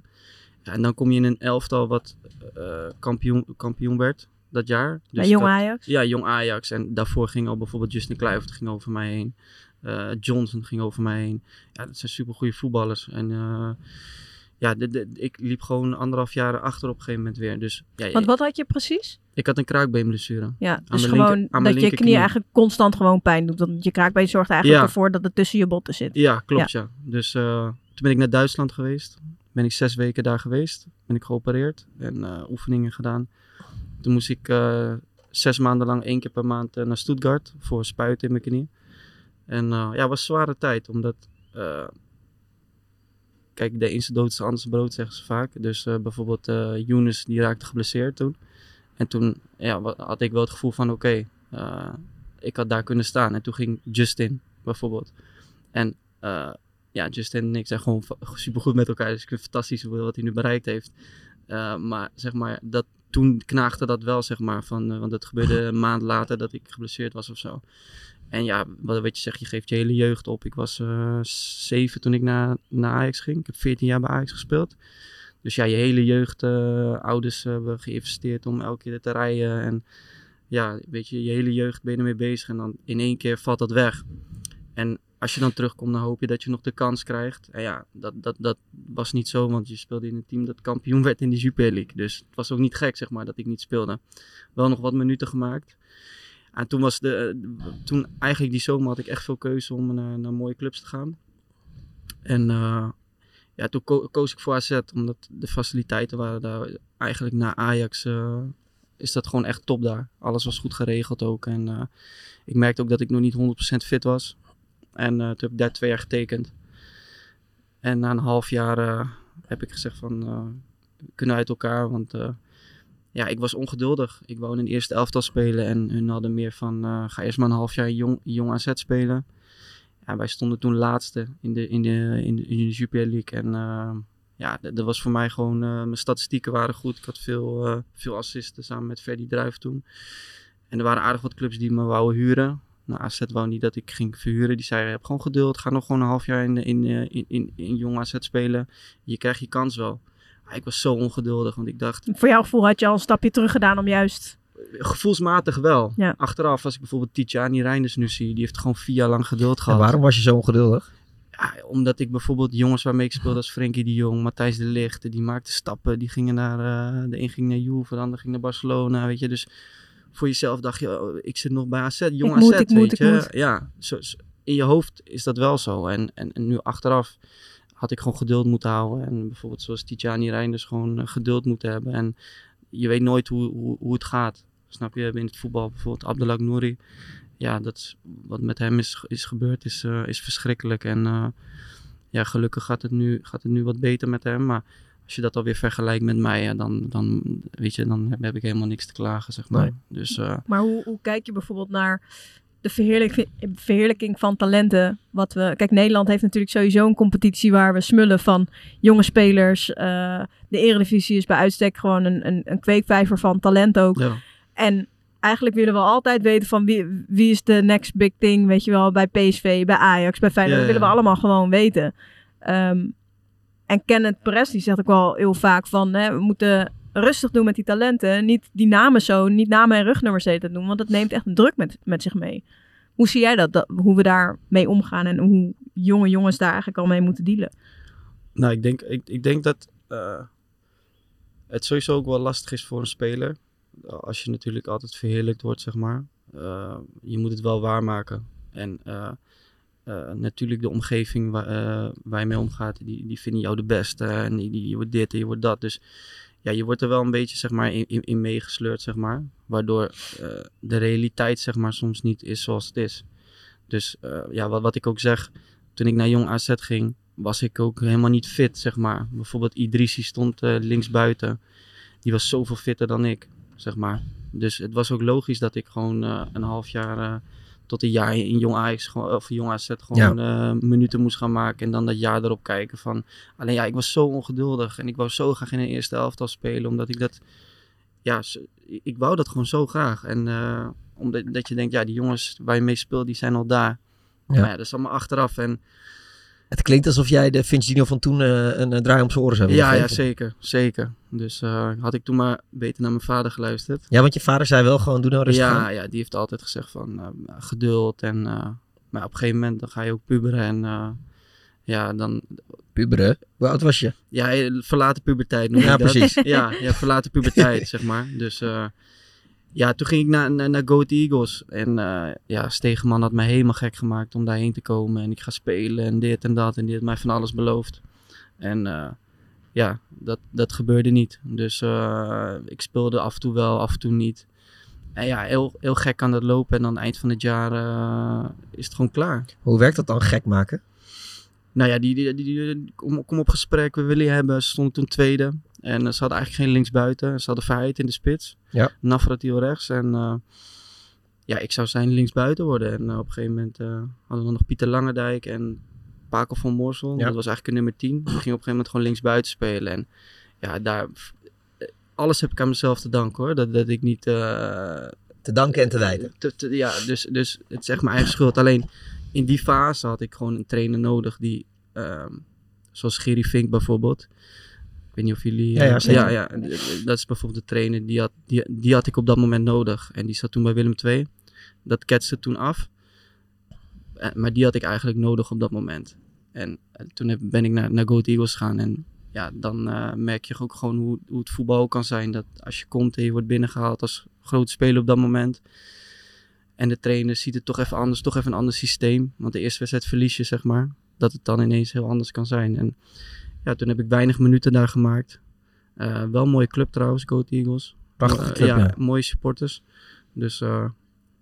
Speaker 5: Ja, en dan kom je in een elftal wat eh, kampioen, kampioen werd dat jaar. Dus
Speaker 3: Bij Jong
Speaker 5: dat-
Speaker 3: Ajax?
Speaker 5: Ja, Jong Ajax. En daarvoor ging al bijvoorbeeld Justin Kluivert ging over mij heen. Eh, Johnson ging over mij heen. Ja, dat zijn supergoeie voetballers. En eh, ja, de, de- ik liep gewoon anderhalf jaar achter op een gegeven moment weer. Dus, ja,
Speaker 3: Want wat had je precies?
Speaker 5: Ik had een kraakbeenblessure.
Speaker 3: Ja,
Speaker 5: Aan
Speaker 3: dus
Speaker 5: mijn
Speaker 3: gewoon
Speaker 5: linker- aan
Speaker 3: dat
Speaker 5: mijn
Speaker 3: je knie
Speaker 5: linkerknie.
Speaker 3: eigenlijk constant gewoon pijn doet. Want je kraakbeen zorgt eigenlijk
Speaker 5: Ja.
Speaker 3: ervoor dat het tussen je botten zit.
Speaker 5: Ja, klopt ja. Dus eh, toen ben ik naar Duitsland geweest. Ben ik zes weken daar geweest. Ben ik geopereerd en eh, oefeningen gedaan. Toen moest ik eh, zes maanden lang één keer per maand eh, naar Stuttgart voor spuiten in mijn knie. En eh, ja, het was een zware tijd, omdat... eh, kijk, de eens dood is de anders brood, zeggen ze vaak. Dus eh, bijvoorbeeld eh Younes, die raakte geblesseerd toen. En toen ja, wa- had ik wel het gevoel van, oké, eh, ik had daar kunnen staan. En toen ging Justin, bijvoorbeeld. En eh, ja, Justin en ik zijn gewoon fa- supergoed met elkaar. Dus ik vind het fantastisch hoe- wat hij nu bereikt heeft. Eh, maar zeg maar, dat, toen knaagde dat wel, zeg maar. Van, eh, want het gebeurde een maand later dat ik geblesseerd was of zo. En ja, wat, wat je zegt, je geeft je hele jeugd op. Ik was eh, zeven toen ik naar, naar Ajax ging. Ik heb 14 jaar bij Ajax gespeeld. Dus ja, je hele jeugd, eh, ouders hebben geïnvesteerd om elke keer te rijden. En ja, weet je, je hele jeugd ben je ermee bezig. En dan in één keer valt dat weg. En als je dan terugkomt, dan hoop je dat je nog de kans krijgt. En ja, dat, dat, dat was niet zo, want je speelde in een team dat kampioen werd in de Super League. Dus het was ook niet gek, zeg maar, dat ik niet speelde. Wel nog wat minuten gemaakt. En toen was de, eh, toen eigenlijk die zomer had ik echt veel keuze om naar, naar mooie clubs te gaan. En eh, ja, toen ko- koos ik voor AZ, omdat de faciliteiten waren daar eigenlijk na Ajax. eh, is dat gewoon echt top daar. Alles was goed geregeld ook. En eh, ik merkte ook dat ik nog niet 100% fit was. En eh, toen heb ik daar twee jaar getekend. En na een half jaar eh, heb ik gezegd van, eh, we kunnen uit elkaar. Want eh, ja, ik was ongeduldig. Ik wou in een eerste elftal spelen. En hun hadden meer van, eh, ga eerst maar een half jaar jong, jong AZ spelen. Ja, wij stonden toen laatste in de, in de, in de, in de Super League. En eh, ja, dat, dat was voor mij gewoon, eh, mijn statistieken waren goed. Ik had veel, eh, veel assisten samen met Ferdy Druif toen. En er waren aardig wat clubs die me wouden huren. Nou, AZ wou niet dat ik ging verhuren. Die zei, heb gewoon geduld. Ga nog gewoon een half jaar in, in, eh, in, in, in jong AZ spelen. Je krijgt je kans wel. Maar ik was zo ongeduldig, want ik dacht,
Speaker 3: Voor jouw gevoel had je al een stapje terug gedaan om juist...
Speaker 5: gevoelsmatig wel.
Speaker 3: Ja.
Speaker 5: Achteraf, als ik bijvoorbeeld Tijani Reinders nu zie, die heeft gewoon vier jaar lang geduld gehad.
Speaker 4: En waarom was je zo ongeduldig?
Speaker 5: Ja, omdat ik bijvoorbeeld jongens waarmee ik speelde als Frenkie de Jong, Matthijs de Ligt, die maakten stappen, die gingen naar, eh, de een ging naar Juve, de ander ging naar Barcelona, weet je. Dus voor jezelf dacht je, oh, ik zit nog bij AZ, jong
Speaker 3: Ik moet,
Speaker 5: AZ,
Speaker 3: ik
Speaker 5: weet
Speaker 3: moet, ik
Speaker 5: je.
Speaker 3: moet.
Speaker 5: Ja, zo, zo- in je hoofd is dat wel zo. En, en, en nu achteraf had ik gewoon geduld moeten houden. En bijvoorbeeld zoals Tijani Reinders gewoon eh, geduld moeten hebben. En je weet nooit hoe, hoe, hoe het gaat. Snap je? In het voetbal bijvoorbeeld Abdelak Nouri. Ja, dat is, wat met hem is, is gebeurd is, eh, is verschrikkelijk. En eh, ja, gelukkig gaat het, nu, gaat het nu wat beter met hem. Maar als je dat alweer vergelijkt met mij, ja, dan, dan, weet je, dan heb, heb ik helemaal niks te klagen, zeg maar.
Speaker 4: Nee.
Speaker 5: Dus eh,
Speaker 3: Maar hoe, hoe kijk je bijvoorbeeld naar de verheerlijk, verheerlijking van talenten? Wat we, kijk, Nederland heeft natuurlijk sowieso een competitie waar we smullen van jonge spelers. Eh, de Eredivisie is bij uitstek gewoon een, een, een kweekvijver van talent ook.
Speaker 5: Ja.
Speaker 3: En eigenlijk willen we altijd weten van wie, wie is de next big thing, weet je wel, bij PSV, bij Ajax, bij Feyenoord.
Speaker 6: Ja,
Speaker 3: Dat
Speaker 6: ja.
Speaker 3: willen we allemaal gewoon weten. Ehm, en Kenneth Perez, die zegt ook wel heel vaak van... Hè, we moeten rustig doen met die talenten. Niet die namen zo, niet namen en rugnummers de hele tijd doen. Want dat neemt echt een druk met, met zich mee. Hoe zie jij dat, dat? Hoe we daar mee omgaan en hoe jonge jongens daar eigenlijk al mee moeten dealen?
Speaker 5: Nou, ik denk, ik, ik denk dat eh, het sowieso ook wel lastig is voor een speler. Als je natuurlijk altijd verheerlijkt wordt, zeg maar. Eh, je moet het wel waarmaken. En eh, eh, natuurlijk de omgeving waar, eh, waar je mee omgaat, die, die vinden jou de beste. En die, die, je wordt dit en je wordt dat. Dus ja, je wordt er wel een beetje zeg maar, in, in, in meegesleurd, zeg maar. Waardoor eh, de realiteit zeg maar, soms niet is zoals het is. Dus eh, ja, wat, wat ik ook zeg, toen ik naar Jong AZ ging, was ik ook helemaal niet fit, zeg maar. Bijvoorbeeld Idrissi stond eh linksbuiten. Die was zoveel fitter dan ik, zeg maar. Dus het was ook logisch dat ik gewoon eh, een half jaar eh, tot een jaar in Jong Ajax, gewoon- of Jong AZ gewoon eh, minuten moest gaan maken. En dan dat jaar erop kijken van... Alleen ja, ik was zo ongeduldig en ik wou zo graag in een eerste elftal spelen, omdat ik dat ja, s- ik wou dat gewoon zo graag. En eh, omdat dat je denkt, ja, die jongens waar je mee speelt, die zijn al daar.
Speaker 4: Ja.
Speaker 5: Maar ja, dat is allemaal achteraf. En
Speaker 4: Het klinkt alsof jij de Vincentino van toen eh, een eh, draai om zijn oren zou willen
Speaker 5: ja, ja,
Speaker 4: geven.
Speaker 5: zeker, zeker. Dus eh, had ik toen maar beter naar mijn vader geluisterd.
Speaker 4: Ja, want je vader zei wel gewoon, doe nou rustig
Speaker 5: ja,
Speaker 4: aan.
Speaker 5: ja, die heeft altijd gezegd van eh, geduld en... eh, maar op een gegeven moment dan ga je ook puberen en... eh, Ja, dan...
Speaker 4: Puberen? Hoe oud was je?
Speaker 5: Ja, eh, verlaten puberteit noem je
Speaker 4: Ja,
Speaker 5: dat.
Speaker 4: precies.
Speaker 5: *laughs* Ja, ja, verlaten puberteit, zeg maar. Dus eh, ja, toen ging ik naar, naar, naar Goat Eagles. En eh, ja, Stegeman had mij helemaal gek gemaakt om daarheen te komen. En ik ga spelen en dit en dat. En die had mij van alles beloofd. En eh, ja, dat, dat gebeurde niet. Dus eh, ik speelde af en toe wel, af en toe niet. En ja, heel, heel gek kan dat lopen. En dan eind van het jaar eh, is het gewoon klaar.
Speaker 4: Hoe werkt dat dan, gek maken?
Speaker 5: Nou ja, die, die, die, die- kom, kom op gesprek, we willen je hebben. Ze stonden toen tweede. En eh, ze hadden eigenlijk geen linksbuiten. Ze hadden vrijheid in de spits.
Speaker 4: Ja.
Speaker 5: Navratil rechts. En eh, ja, ik zou zijn linksbuiten worden. En eh, op een gegeven moment eh, hadden we nog Pieter Langendijk en Paco van Morsel.
Speaker 4: Ja.
Speaker 5: Dat was eigenlijk een nummer 10. Die ging op een gegeven moment gewoon linksbuiten spelen. En ja, daar... eh, Alles heb ik aan mezelf te danken hoor. Dat, dat ik niet... eh,
Speaker 4: te danken en te wijten.
Speaker 5: ja, dus, dus het is echt mijn eigen schuld. Alleen in die fase had ik gewoon een trainer nodig die... ehm, zoals Gerry Fink bijvoorbeeld. Ik weet niet of jullie...
Speaker 4: Ja,
Speaker 5: eh,
Speaker 4: ja, zeker.
Speaker 5: ja, ja, en, eh, dat is bijvoorbeeld de trainer. Die had, die, die had ik op dat moment nodig. En die zat toen bij Willem II. Dat ketste toen af. Eh, Maar die had ik eigenlijk nodig op dat moment. En eh, toen heb- ben ik naar, naar Goat Eagles gegaan. En ja, dan eh, merk je ook gewoon hoe, hoe het voetbal kan zijn. Dat als je komt en je wordt binnengehaald als grote speler op dat moment. En de trainer ziet het toch even anders, toch even een ander systeem. Want de eerste wedstrijd verlies je, zeg maar. Dat het dan ineens heel anders kan zijn. En ja, toen heb ik weinig minuten daar gemaakt. Eh, wel een mooie club trouwens, Goat Eagles.
Speaker 4: Prachtige
Speaker 5: Eh,
Speaker 4: club, ja.
Speaker 5: mooie supporters. Dus eh,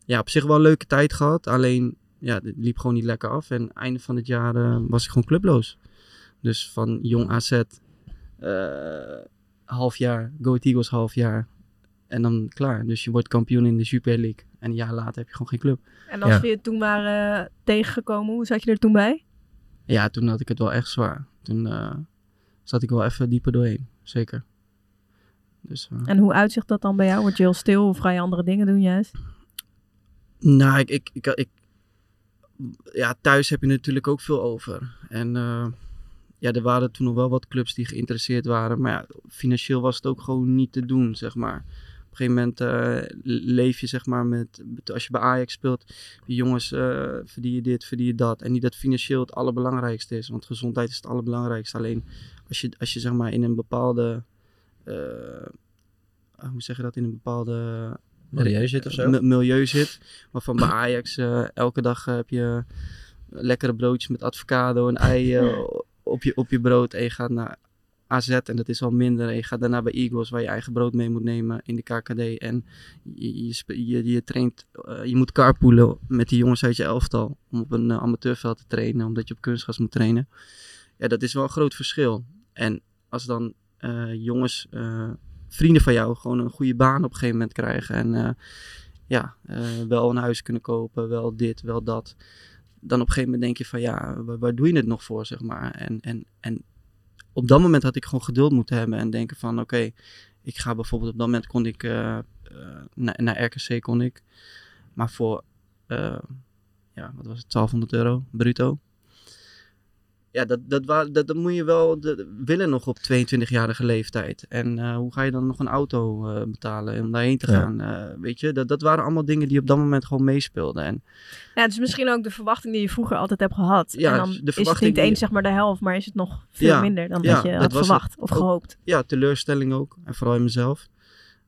Speaker 5: ja, op zich wel een leuke tijd gehad. Alleen, ja, het liep gewoon niet lekker af. En einde van het jaar eh, was ik gewoon clubloos. Dus van jong AZ, eh, half jaar, Goat Eagles half jaar. En dan klaar. Dus je wordt kampioen in de Super League. En een jaar later heb je gewoon geen club.
Speaker 3: En als we je toen waren tegengekomen, hoe zat je er toen bij?
Speaker 5: Ja, toen had ik het wel echt zwaar. Toen eh, zat ik wel even dieper doorheen. Zeker. Dus, eh,
Speaker 3: En hoe uitzicht dat dan bij jou? Word je heel stil of ga je andere dingen doen juist?
Speaker 5: Nou, ik, ik, ik, ik- ja, thuis heb je natuurlijk ook veel over. En eh, ja, er waren toen nog wel wat clubs die geïnteresseerd waren. Maar ja, financieel was het ook gewoon niet te doen, zeg maar. Op een gegeven moment eh, leef je, zeg maar, met, met- als je bij Ajax speelt. Die jongens, eh verdien je dit, verdien je dat. En niet dat financieel het allerbelangrijkste is. Want gezondheid is het allerbelangrijkste. Alleen als je, als je zeg maar, in een bepaalde... eh, hoe zeg je dat? In een bepaalde...
Speaker 4: Milieu zit of zo?
Speaker 5: Mi- milieu zit. Waarvan bij Ajax eh, elke dag heb je lekkere broodjes met avocado en
Speaker 4: *laughs*
Speaker 5: ei eh, op, je, op je brood. En je gaat naar AZ en dat is al minder. En je gaat daarna bij Eagles waar je eigen brood mee moet nemen in de KKD. En je, je, spe- je, je traint, eh, je moet carpoolen met die jongens uit je elftal. Om op een eh, amateurveld te trainen, omdat je op kunstgras moet trainen. Ja, dat is wel een groot verschil. En als dan eh, jongens, eh, vrienden van jou, gewoon een goede baan op een gegeven moment krijgen. En eh, ja, eh, wel een huis kunnen kopen, wel dit, wel dat. Dan op een gegeven moment denk je van ja, waar, waar doe je het nog voor, zeg maar. En, en, en op dat moment had ik gewoon geduld moeten hebben en denken van oké, ik ga bijvoorbeeld op dat moment kon ik eh, eh, naar, naar RKC kon ik. Maar voor, eh, ja, wat was het, 1200 euro bruto. Ja, dat, dat, wa- dat, dat moet je wel de- willen nog op 22-jarige leeftijd. En eh, hoe ga je dan nog een auto eh, betalen om daarheen te
Speaker 4: Ja.
Speaker 5: gaan? Eh, weet je, dat, dat waren allemaal dingen die op dat moment gewoon meespeelden. En
Speaker 3: Ja, het is misschien ook de verwachting die je vroeger altijd hebt gehad.
Speaker 5: Ja,
Speaker 3: en dan
Speaker 5: de
Speaker 3: is het
Speaker 5: verwachting
Speaker 3: niet
Speaker 5: die-
Speaker 3: eens zeg maar de helft, maar is het nog veel
Speaker 5: Ja,
Speaker 3: minder dan
Speaker 5: ja,
Speaker 3: dat je
Speaker 5: dat
Speaker 3: had
Speaker 5: was
Speaker 3: verwacht
Speaker 5: het.
Speaker 3: of
Speaker 5: Ook-
Speaker 3: gehoopt.
Speaker 5: ja, teleurstelling ook. En vooral in mezelf.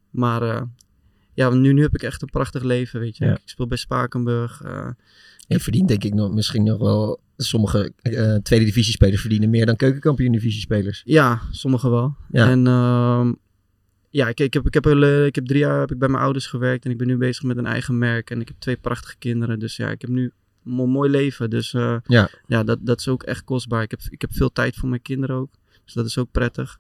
Speaker 5: Maar eh, ja, nu, nu heb ik echt een prachtig leven, weet je.
Speaker 4: Ja.
Speaker 5: Ik speel bij Spakenburg. eh,
Speaker 4: Je verdient denk ik nog, misschien nog wel... Sommige eh, tweede divisiespelers verdienen meer dan keukenkampioen divisiespelers.
Speaker 5: Ja, sommige wel.
Speaker 4: Ja.
Speaker 5: En ehm, ja, ik, ik, heb, ik, heb, heel, eh, ik heb drie jaar heb ik bij mijn ouders gewerkt en ik ben nu bezig met een eigen merk. En ik heb twee prachtige kinderen. Dus ja, ik heb nu een mo- mooi leven. Dus eh,
Speaker 4: Ja.
Speaker 5: ja dat, dat is ook echt kostbaar. Ik heb, ik heb veel tijd voor mijn kinderen ook. Dus dat is ook prettig.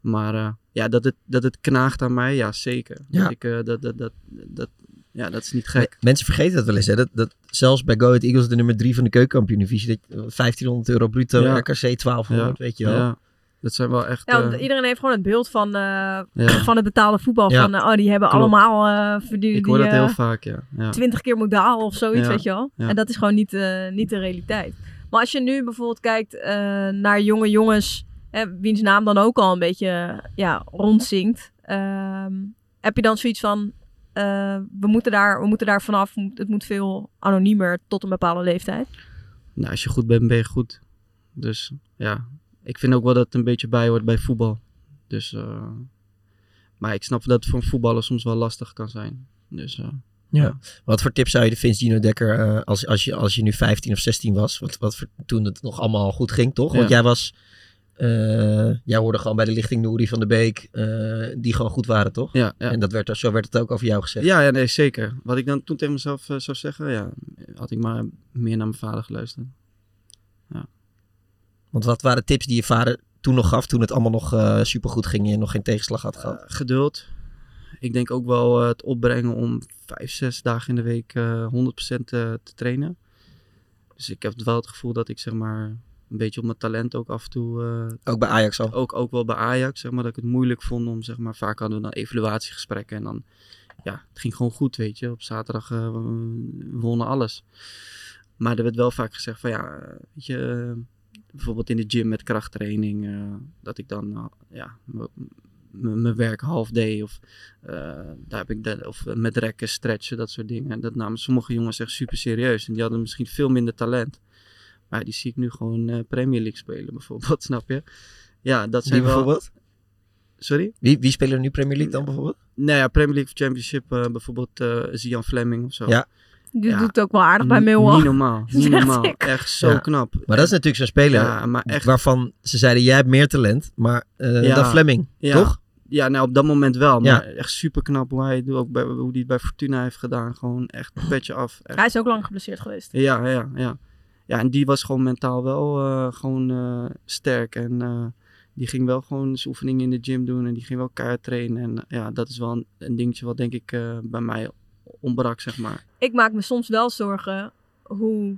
Speaker 5: Maar eh, ja, dat het, dat het knaagt aan mij, ja zeker.
Speaker 4: Ja.
Speaker 5: Dat ik, eh, dat, dat, dat, dat, ja, dat is niet gek.
Speaker 4: M- Eh, Mensen vergeten dat wel eens. Hè? Dat, dat zelfs bij Go Ahead Eagles de nummer drie van de keukenkampioen divisie. dat je- 1500 euro bruto,
Speaker 5: Ja.
Speaker 4: RKC 1200,
Speaker 5: Ja.
Speaker 4: weet je wel.
Speaker 5: Ja. Dat zijn wel echt...
Speaker 3: Ja, want
Speaker 5: eh,
Speaker 3: iedereen heeft gewoon het beeld van, eh,
Speaker 5: Ja.
Speaker 3: *coughs* van het betaalde voetbal.
Speaker 5: Ja.
Speaker 3: Van, eh, oh, die hebben
Speaker 5: Klopt.
Speaker 3: allemaal eh verdiend.
Speaker 5: ik hoor
Speaker 3: die,
Speaker 5: dat heel
Speaker 3: eh,
Speaker 5: vaak, ja. ja.
Speaker 3: 20 keer modaal of zoiets,
Speaker 5: Ja,
Speaker 3: weet je wel.
Speaker 5: ja.
Speaker 3: En dat is gewoon niet, eh, niet de realiteit. Maar als je nu bijvoorbeeld kijkt eh, naar jonge jongens, hè, wiens naam dan ook al een beetje eh, ja, rondzinkt, ehm, heb je dan zoiets van: eh, we, moeten daar, we moeten daar vanaf, het moet veel anoniemer tot een bepaalde leeftijd?
Speaker 5: Nou, als je goed bent, ben je goed. Dus ja, ik vind ook wel dat het een beetje bij hoort bij voetbal. Dus, eh, maar ik snap dat het voor een voetballer soms wel lastig kan zijn. Dus, eh,
Speaker 4: Ja. Wat voor tip zou je de Vince Gino Dekker, eh, als, als, je, als je nu 15 of 16 was, wat, wat voor- toen het nog allemaal goed ging, toch? Want
Speaker 5: Ja.
Speaker 4: jij was, eh, jij hoorde gewoon bij de lichting Nouri van de Beek, eh, die gewoon goed waren, toch?
Speaker 5: Ja, ja.
Speaker 4: En eh, dat werd, zo werd het ook over jou gezegd.
Speaker 5: Ja, ja, nee, zeker. Wat ik dan toen tegen mezelf eh, zou zeggen, ja, had ik maar meer naar mijn vader geluisterd.
Speaker 4: Want wat waren tips die je vader toen nog gaf, toen het allemaal nog eh, supergoed ging en je nog geen tegenslag had
Speaker 5: Eh,
Speaker 4: gehad?
Speaker 5: geduld. Ik denk ook wel eh, het opbrengen om vijf, zes dagen in de week eh 100% te, te trainen. Dus ik heb wel het gevoel dat ik zeg maar een beetje op mijn talent ook af en toe... eh,
Speaker 4: Ook bij Ajax al?
Speaker 5: Ook, ook wel bij Ajax, zeg maar, dat ik het moeilijk vond om zeg maar... Vaak hadden we dan evaluatiegesprekken en dan... Ja, het ging gewoon goed, weet je. Op zaterdag eh, we wonnen alles. Maar er werd wel vaak gezegd van ja, weet je... eh, bijvoorbeeld in de gym met krachttraining, eh, dat ik dan eh, ja, m- m- mijn werk half deed. Of, eh, daar heb ik de, of met rekken, stretchen, dat soort dingen. En dat namen sommige jongens echt super serieus. En die hadden misschien veel minder talent. Maar die zie ik nu gewoon eh, Premier League spelen bijvoorbeeld, *laughs* snap je? Ja, dat
Speaker 4: Wie
Speaker 5: zijn wel-
Speaker 4: bijvoorbeeld?
Speaker 5: Sorry?
Speaker 4: Wie, wie spelen er nu Premier League dan bijvoorbeeld?
Speaker 5: Nou ja, Premier League of Championship, eh, bijvoorbeeld eh Zian Fleming of zo.
Speaker 4: Ja.
Speaker 3: Die doet het ook wel aardig bij
Speaker 5: N-
Speaker 3: Millwall. *laughs*
Speaker 5: Niet normaal,
Speaker 3: Dat is
Speaker 5: niet
Speaker 3: echt
Speaker 5: normaal.
Speaker 3: sick.
Speaker 5: Echt zo
Speaker 4: Ja.
Speaker 5: knap.
Speaker 4: Maar dat is natuurlijk zo'n speler
Speaker 5: Ja, maar echt.
Speaker 4: waarvan ze zeiden, jij hebt meer talent maar, eh, dan Fleming,
Speaker 5: ja.
Speaker 4: toch?
Speaker 5: Ja, nou op dat moment wel.
Speaker 4: Ja.
Speaker 5: Maar echt super knap hoe hij, het doet, ook bij, hoe hij het bij Fortuna heeft gedaan. Gewoon echt een petje af. Echt.
Speaker 3: Hij is ook lang geblesseerd geweest.
Speaker 5: Ja, ja, ja. Ja, en die was gewoon mentaal wel eh, gewoon eh, sterk. En eh, die ging wel gewoon zijn oefeningen in de gym doen. En die ging wel keihard trainen. En eh, ja, dat is wel een, een dingetje wat denk ik eh, bij mij ontbrak, zeg maar.
Speaker 3: Ik maak me soms wel zorgen hoe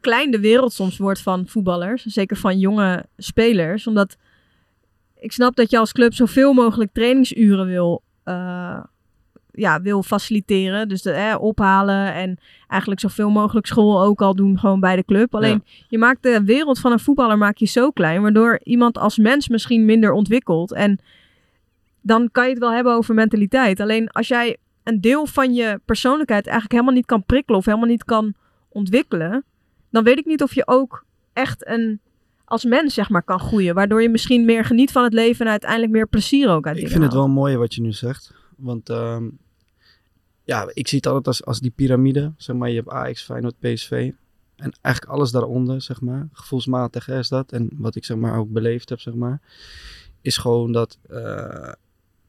Speaker 3: klein de wereld soms wordt van voetballers. Zeker van jonge spelers. Omdat ik snap dat je als club zoveel mogelijk trainingsuren wil, eh, ja, wil faciliteren. Dus de, eh, ophalen en eigenlijk zoveel mogelijk school ook al doen gewoon bij de club. Alleen je maakt de wereld van een voetballer maak je zo klein. Waardoor iemand als mens misschien minder ontwikkelt. En dan kan je het wel hebben over mentaliteit. Alleen als jij een deel van je persoonlijkheid eigenlijk helemaal niet kan prikkelen of helemaal niet kan ontwikkelen, dan weet ik niet of je ook echt een als mens zeg maar kan groeien, waardoor je misschien meer geniet van het leven en uiteindelijk meer plezier ook uit
Speaker 5: Ik
Speaker 3: dingen
Speaker 5: vind het
Speaker 3: haalt.
Speaker 5: wel mooi wat je nu zegt. Want ehm, ja, ik zie het altijd als, als die piramide. Zeg maar, je hebt AX, Feyenoord, PSV. En eigenlijk alles daaronder, zeg maar. Gevoelsmatig hè, is dat. En wat ik zeg maar ook beleefd heb, zeg maar. Is gewoon dat... eh,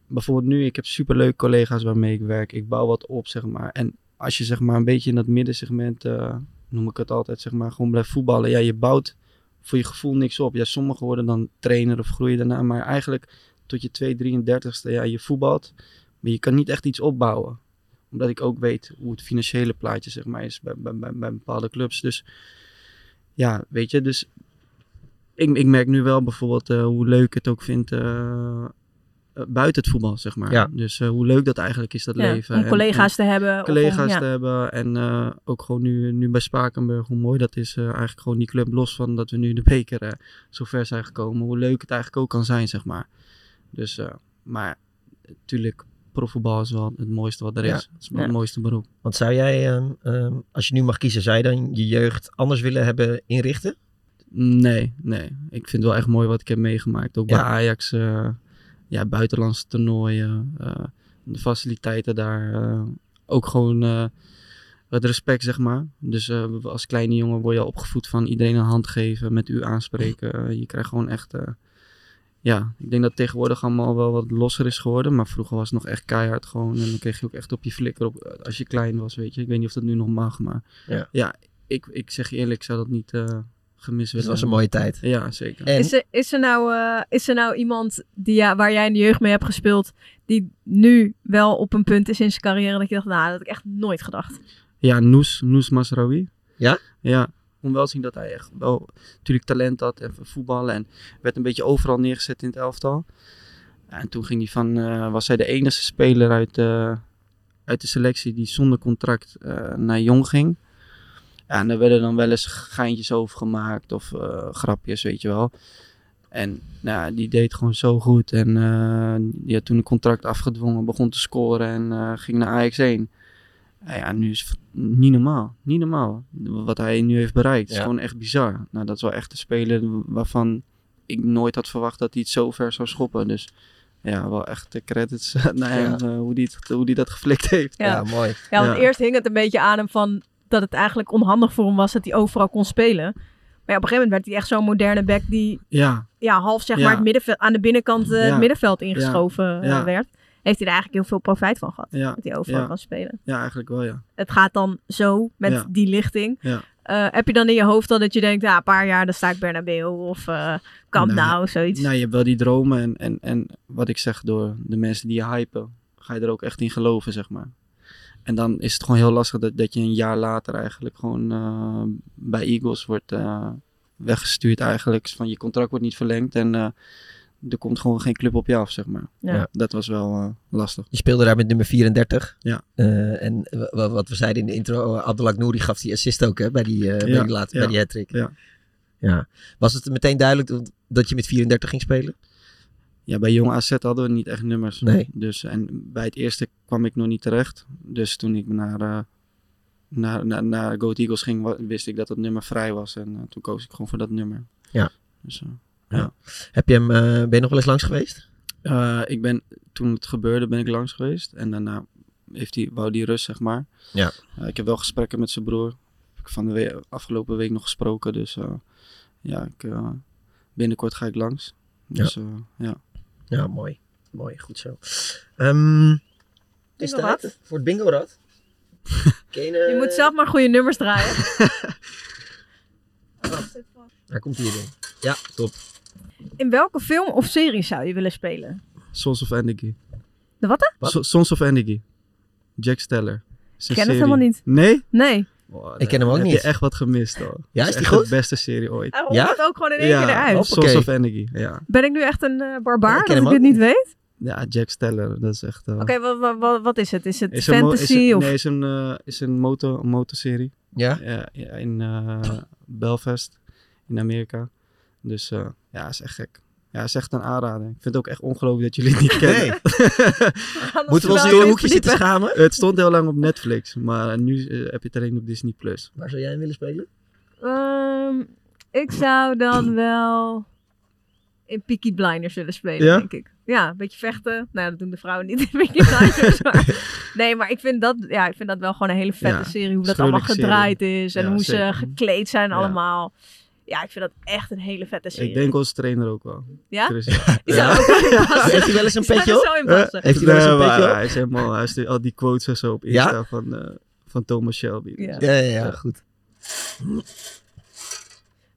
Speaker 5: bijvoorbeeld nu, ik heb superleuke collega's waarmee ik werk. Ik bouw wat op, zeg maar. En als je zeg maar een beetje in dat middensegment... eh, noem ik het altijd, zeg maar, gewoon blijft voetballen. Ja, je bouwt voor je gevoel niks op. Ja, sommigen worden dan trainer of groeien daarna. Maar eigenlijk tot je 2, 33ste, ja, je voetbalt. Maar je kan niet echt iets opbouwen. Omdat ik ook weet hoe het financiële plaatje, zeg maar, is bij, bij, bij, bij bepaalde clubs. Dus ja, weet je, dus ik, ik merk nu wel bijvoorbeeld eh, hoe leuk ik het ook vind eh, eh, buiten het voetbal, zeg maar.
Speaker 3: Ja.
Speaker 5: Dus eh, hoe leuk dat eigenlijk is, dat
Speaker 3: Ja,
Speaker 5: leven.
Speaker 3: om
Speaker 5: En-
Speaker 3: collega's
Speaker 5: en
Speaker 3: te hebben, Oh, of
Speaker 5: Collega's
Speaker 3: om- ja.
Speaker 5: te hebben. En eh, ook gewoon nu, nu bij Spakenburg, hoe mooi dat is. eh, eigenlijk gewoon die club, los van dat we nu de beker eh, zo ver zijn gekomen. Hoe leuk het eigenlijk ook kan zijn, zeg maar. Dus, eh, maar natuurlijk, profvoetbal is wel het mooiste wat er
Speaker 4: Ja.
Speaker 5: is. Het is wel het
Speaker 4: Ja.
Speaker 5: mooiste beroep.
Speaker 4: Want zou jij, ehm, ehm, als je nu mag kiezen, zou je dan je jeugd anders willen hebben inrichten?
Speaker 5: Nee, nee. Ik vind het wel echt mooi wat ik heb meegemaakt. Ook
Speaker 4: Ja.
Speaker 5: bij Ajax, eh, ja, buitenlandse toernooien, eh, de faciliteiten daar. eh, ook gewoon eh, het respect, zeg maar. Dus eh, als kleine jongen word je al opgevoed van iedereen een hand geven, met u aanspreken. Eh, je krijgt gewoon echt... eh, ja, ik denk dat het tegenwoordig allemaal wel wat losser is geworden. Maar vroeger was het nog echt keihard gewoon. En dan kreeg je ook echt op je flikker op, eh, als je klein was, weet je. Ik weet niet of dat nu nog mag, maar...
Speaker 4: Ja.
Speaker 5: ik, ik zeg je eerlijk, ik zou dat niet eh,
Speaker 4: Het
Speaker 5: gemist willen
Speaker 4: was een
Speaker 5: hebben.
Speaker 4: mooie tijd.
Speaker 5: Ja, zeker.
Speaker 3: Is, er, is, er nou, eh, is er nou iemand die, ja, waar jij in de jeugd mee hebt gespeeld, die nu wel op een punt is in zijn carrière dat je dacht, nou, dat had ik echt nooit gedacht.
Speaker 5: Ja, Noes, Noes Masraoui.
Speaker 4: Ja?
Speaker 5: Ja. Kon wel zien dat hij echt wel natuurlijk talent had en voetballen. En werd een beetje overal neergezet in het elftal. En toen ging hij van, eh, was hij de enige speler uit, eh, uit de selectie die zonder contract eh, naar Jong ging. Ja, en daar werden dan wel eens geintjes over gemaakt of eh, grapjes, weet je wel. En nou, ja, die deed gewoon zo goed. En eh, die had toen een contract afgedwongen, begon te scoren en eh, ging naar Ajax 1. Nou ja, nu is het niet normaal. Niet normaal. Wat hij nu heeft bereikt. is
Speaker 4: Ja.
Speaker 5: gewoon echt bizar. Nou, dat is wel echt een speler waarvan ik nooit had verwacht dat hij het zo ver zou schoppen. Dus ja, wel echt de credits *laughs* naar hem.
Speaker 4: Ja.
Speaker 5: eh, hoe, die het- hoe die dat geflikt heeft.
Speaker 3: Ja, want eerst hing het een beetje aan hem van dat het eigenlijk onhandig voor hem was dat hij overal kon spelen. Maar ja, op een gegeven moment werd hij echt zo'n moderne back die
Speaker 5: Ja.
Speaker 3: ja, half zeg
Speaker 5: Ja.
Speaker 3: maar het middenveld, aan de binnenkant eh,
Speaker 5: Ja.
Speaker 3: het middenveld
Speaker 5: Ja.
Speaker 3: ingeschoven eh,
Speaker 5: Ja.
Speaker 3: werd. Heeft hij er eigenlijk heel veel profijt van gehad.
Speaker 5: Ja.
Speaker 3: Dat hij overal
Speaker 5: Ja.
Speaker 3: kan spelen.
Speaker 5: Ja, eigenlijk wel, ja.
Speaker 3: Het gaat dan zo met
Speaker 5: Ja.
Speaker 3: die lichting.
Speaker 5: Ja.
Speaker 3: Eh, heb je dan in je hoofd al dat je denkt, ja, een paar jaar dan sta ik Bernabeu of eh Camp Nou, zoiets.
Speaker 5: Nou, je hebt wel die dromen en, en, en wat ik zeg, door de mensen die je hypen, ga je er ook echt in geloven, zeg maar. En dan is het gewoon heel lastig dat, dat je een jaar later eigenlijk gewoon eh, bij Eagles wordt eh, weggestuurd eigenlijk. Van je contract wordt niet verlengd en eh, er komt gewoon geen club op je af, zeg maar.
Speaker 3: Ja. Ja.
Speaker 5: Dat was wel eh, lastig.
Speaker 4: Je speelde daar met nummer 34.
Speaker 5: Ja.
Speaker 4: Eh, en w- w- wat we zeiden in de intro, eh, Abdelak Nouri gaf die assist ook hè, bij die, eh, bij
Speaker 5: Ja,
Speaker 4: die, laatste,
Speaker 5: ja,
Speaker 4: bij die hattrick.
Speaker 5: ja.
Speaker 4: Ja. Was het meteen duidelijk dat- dat je met 34 ging spelen?
Speaker 5: Ja, bij Jong AZ hadden we niet echt nummers.
Speaker 4: Nee.
Speaker 5: Dus, en bij het eerste kwam ik nog niet terecht. Dus toen ik naar, eh naar, naar, naar Go Ahead Eagles ging, wa- wist ik dat het nummer vrij was. En eh, toen koos ik gewoon voor dat nummer.
Speaker 4: Ja.
Speaker 5: Dus, eh,
Speaker 4: Ja. Heb je hem, eh, ben je nog wel eens langs geweest?
Speaker 5: eh, ik ben, toen het gebeurde ben ik langs geweest. En daarna heeft hij, wou die rust, zeg maar.
Speaker 4: Ja.
Speaker 5: Eh, ik heb wel gesprekken met zijn broer. Heb ik van de we- afgelopen week nog gesproken. Dus eh, ja, ik, eh, binnenkort ga ik langs.
Speaker 4: Ja.
Speaker 5: Dus, eh, ja.
Speaker 4: Ja, mooi. Mooi, goed zo. Ehm, het is
Speaker 3: Bingo-rad.
Speaker 4: tijd voor het
Speaker 3: *laughs*
Speaker 4: bingo-rad.
Speaker 3: Je moet zelf maar goede nummers draaien.
Speaker 4: Daar komt hij in. Ja, top.
Speaker 3: In welke film of serie zou je willen spelen?
Speaker 5: Sons of Anarchy.
Speaker 3: De watte?
Speaker 5: So- Sons of Anarchy. Jack Steller. Is
Speaker 3: Ik ken het
Speaker 5: een serie.
Speaker 3: helemaal niet.
Speaker 5: Nee?
Speaker 3: Nee.
Speaker 4: Ik ken hem ook
Speaker 5: heb
Speaker 4: niet.
Speaker 5: je echt wat gemist al.
Speaker 4: Ja,
Speaker 5: Het
Speaker 4: is die
Speaker 5: echt de
Speaker 4: goed?
Speaker 5: beste serie ooit.
Speaker 3: Hij rolt Ja? het ook gewoon in één keer eruit.
Speaker 5: Sons
Speaker 4: Hoppakee.
Speaker 5: of Anarchy, ja.
Speaker 3: Ben ik nu echt een eh, barbaar
Speaker 5: Ik ken
Speaker 3: dat
Speaker 5: hem
Speaker 3: ik dit
Speaker 5: ook
Speaker 3: niet weet?
Speaker 5: Ja, Jack Steller, dat is echt... eh,
Speaker 3: Oké, wa- wa- wa- wat is het? Is het
Speaker 5: is een mo-
Speaker 3: fantasy
Speaker 5: is een-
Speaker 3: of...
Speaker 5: Nee, is een, eh, is een motor, een motorserie.
Speaker 4: Ja?
Speaker 5: Ja, ja, in eh, Belfast, in Amerika. Dus eh, ja, is echt gek. Ja, is echt een aanrader. Ik vind het ook echt ongelooflijk dat jullie het niet kennen.
Speaker 4: Moeten we wel ons in een even hoekje zitten verdiepen. schamen?
Speaker 5: *laughs* Het stond heel lang op Netflix, maar nu eh, heb je het alleen op Disney+. Plus.
Speaker 4: Waar zou jij hem willen spelen?
Speaker 3: Ehm, ik zou
Speaker 5: *clears throat*
Speaker 3: dan wel in Peaky Blinders willen spelen,
Speaker 5: Ja?
Speaker 3: denk ik. Ja, een beetje vechten. Nou, dat doen de vrouwen niet in Peaky Blinders.
Speaker 5: *laughs*
Speaker 3: maar- nee, maar ik vind, dat, ja, ik vind dat wel gewoon een hele vette
Speaker 5: Ja,
Speaker 3: serie. Hoe dat
Speaker 5: gruwelijke
Speaker 3: allemaal gedraaid
Speaker 5: serie.
Speaker 3: is en
Speaker 5: Ja,
Speaker 3: hoe
Speaker 5: zeker.
Speaker 3: ze gekleed zijn
Speaker 5: Ja.
Speaker 3: allemaal. Ja, ik vind dat echt een hele vette serie.
Speaker 5: Ik denk onze trainer ook wel.
Speaker 3: Ja?
Speaker 5: *laughs* Chris,
Speaker 3: Die zou ook wel
Speaker 5: *laughs*
Speaker 3: in passen.
Speaker 4: Heeft hij wel eens een
Speaker 3: Die zou
Speaker 4: petje
Speaker 3: er
Speaker 4: op?
Speaker 3: zo in passen.
Speaker 4: Eh, heeft hij wel eens een
Speaker 5: Nee, maar
Speaker 4: petje op?
Speaker 5: Hij is helemaal, hij stuurt al die quotes en zo op Insta van, eh, van Thomas Shelby.
Speaker 3: Ja.
Speaker 4: Ja, ja, ja,
Speaker 5: Echt
Speaker 4: goed.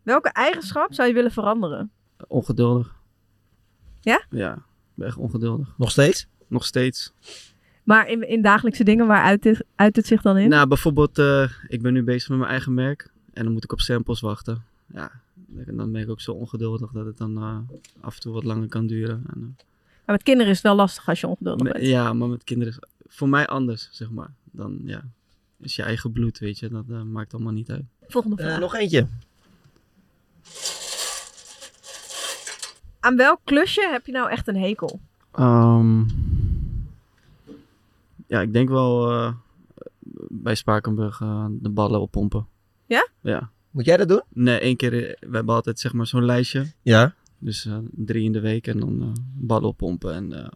Speaker 3: Welke eigenschap zou je willen veranderen?
Speaker 5: Ongeduldig.
Speaker 3: Ja?
Speaker 5: Ja, ik ben echt ongeduldig.
Speaker 4: Nog steeds?
Speaker 5: Nog steeds.
Speaker 3: Maar in, in dagelijkse dingen, waar uit het, uit het zich dan in?
Speaker 5: Nou, bijvoorbeeld, eh, ik ben nu bezig met mijn eigen merk en dan moet ik op samples wachten. Ja, en dan ben ik ook zo ongeduldig dat het dan eh, af en toe wat langer kan duren. En, eh,
Speaker 3: Maar met kinderen is het wel lastig als je ongeduldig
Speaker 5: Me-
Speaker 3: bent.
Speaker 5: Ja, maar met kinderen is voor mij anders, zeg maar. Dan, ja, is je eigen bloed, weet je. Dat eh, maakt allemaal niet uit.
Speaker 3: Volgende
Speaker 4: Eh,
Speaker 3: vraag.
Speaker 4: nog eentje.
Speaker 3: Aan welk klusje heb je nou echt een hekel?
Speaker 5: Ehm, ja, ik denk wel eh, bij Spakenburg eh, de ballen oppompen.
Speaker 3: Ja?
Speaker 5: Ja.
Speaker 4: Moet jij dat doen?
Speaker 5: Nee, één keer. eh, We hebben altijd zeg maar zo'n lijstje.
Speaker 4: Ja.
Speaker 5: Dus eh, drie in de week en dan eh, ballen oppompen en eh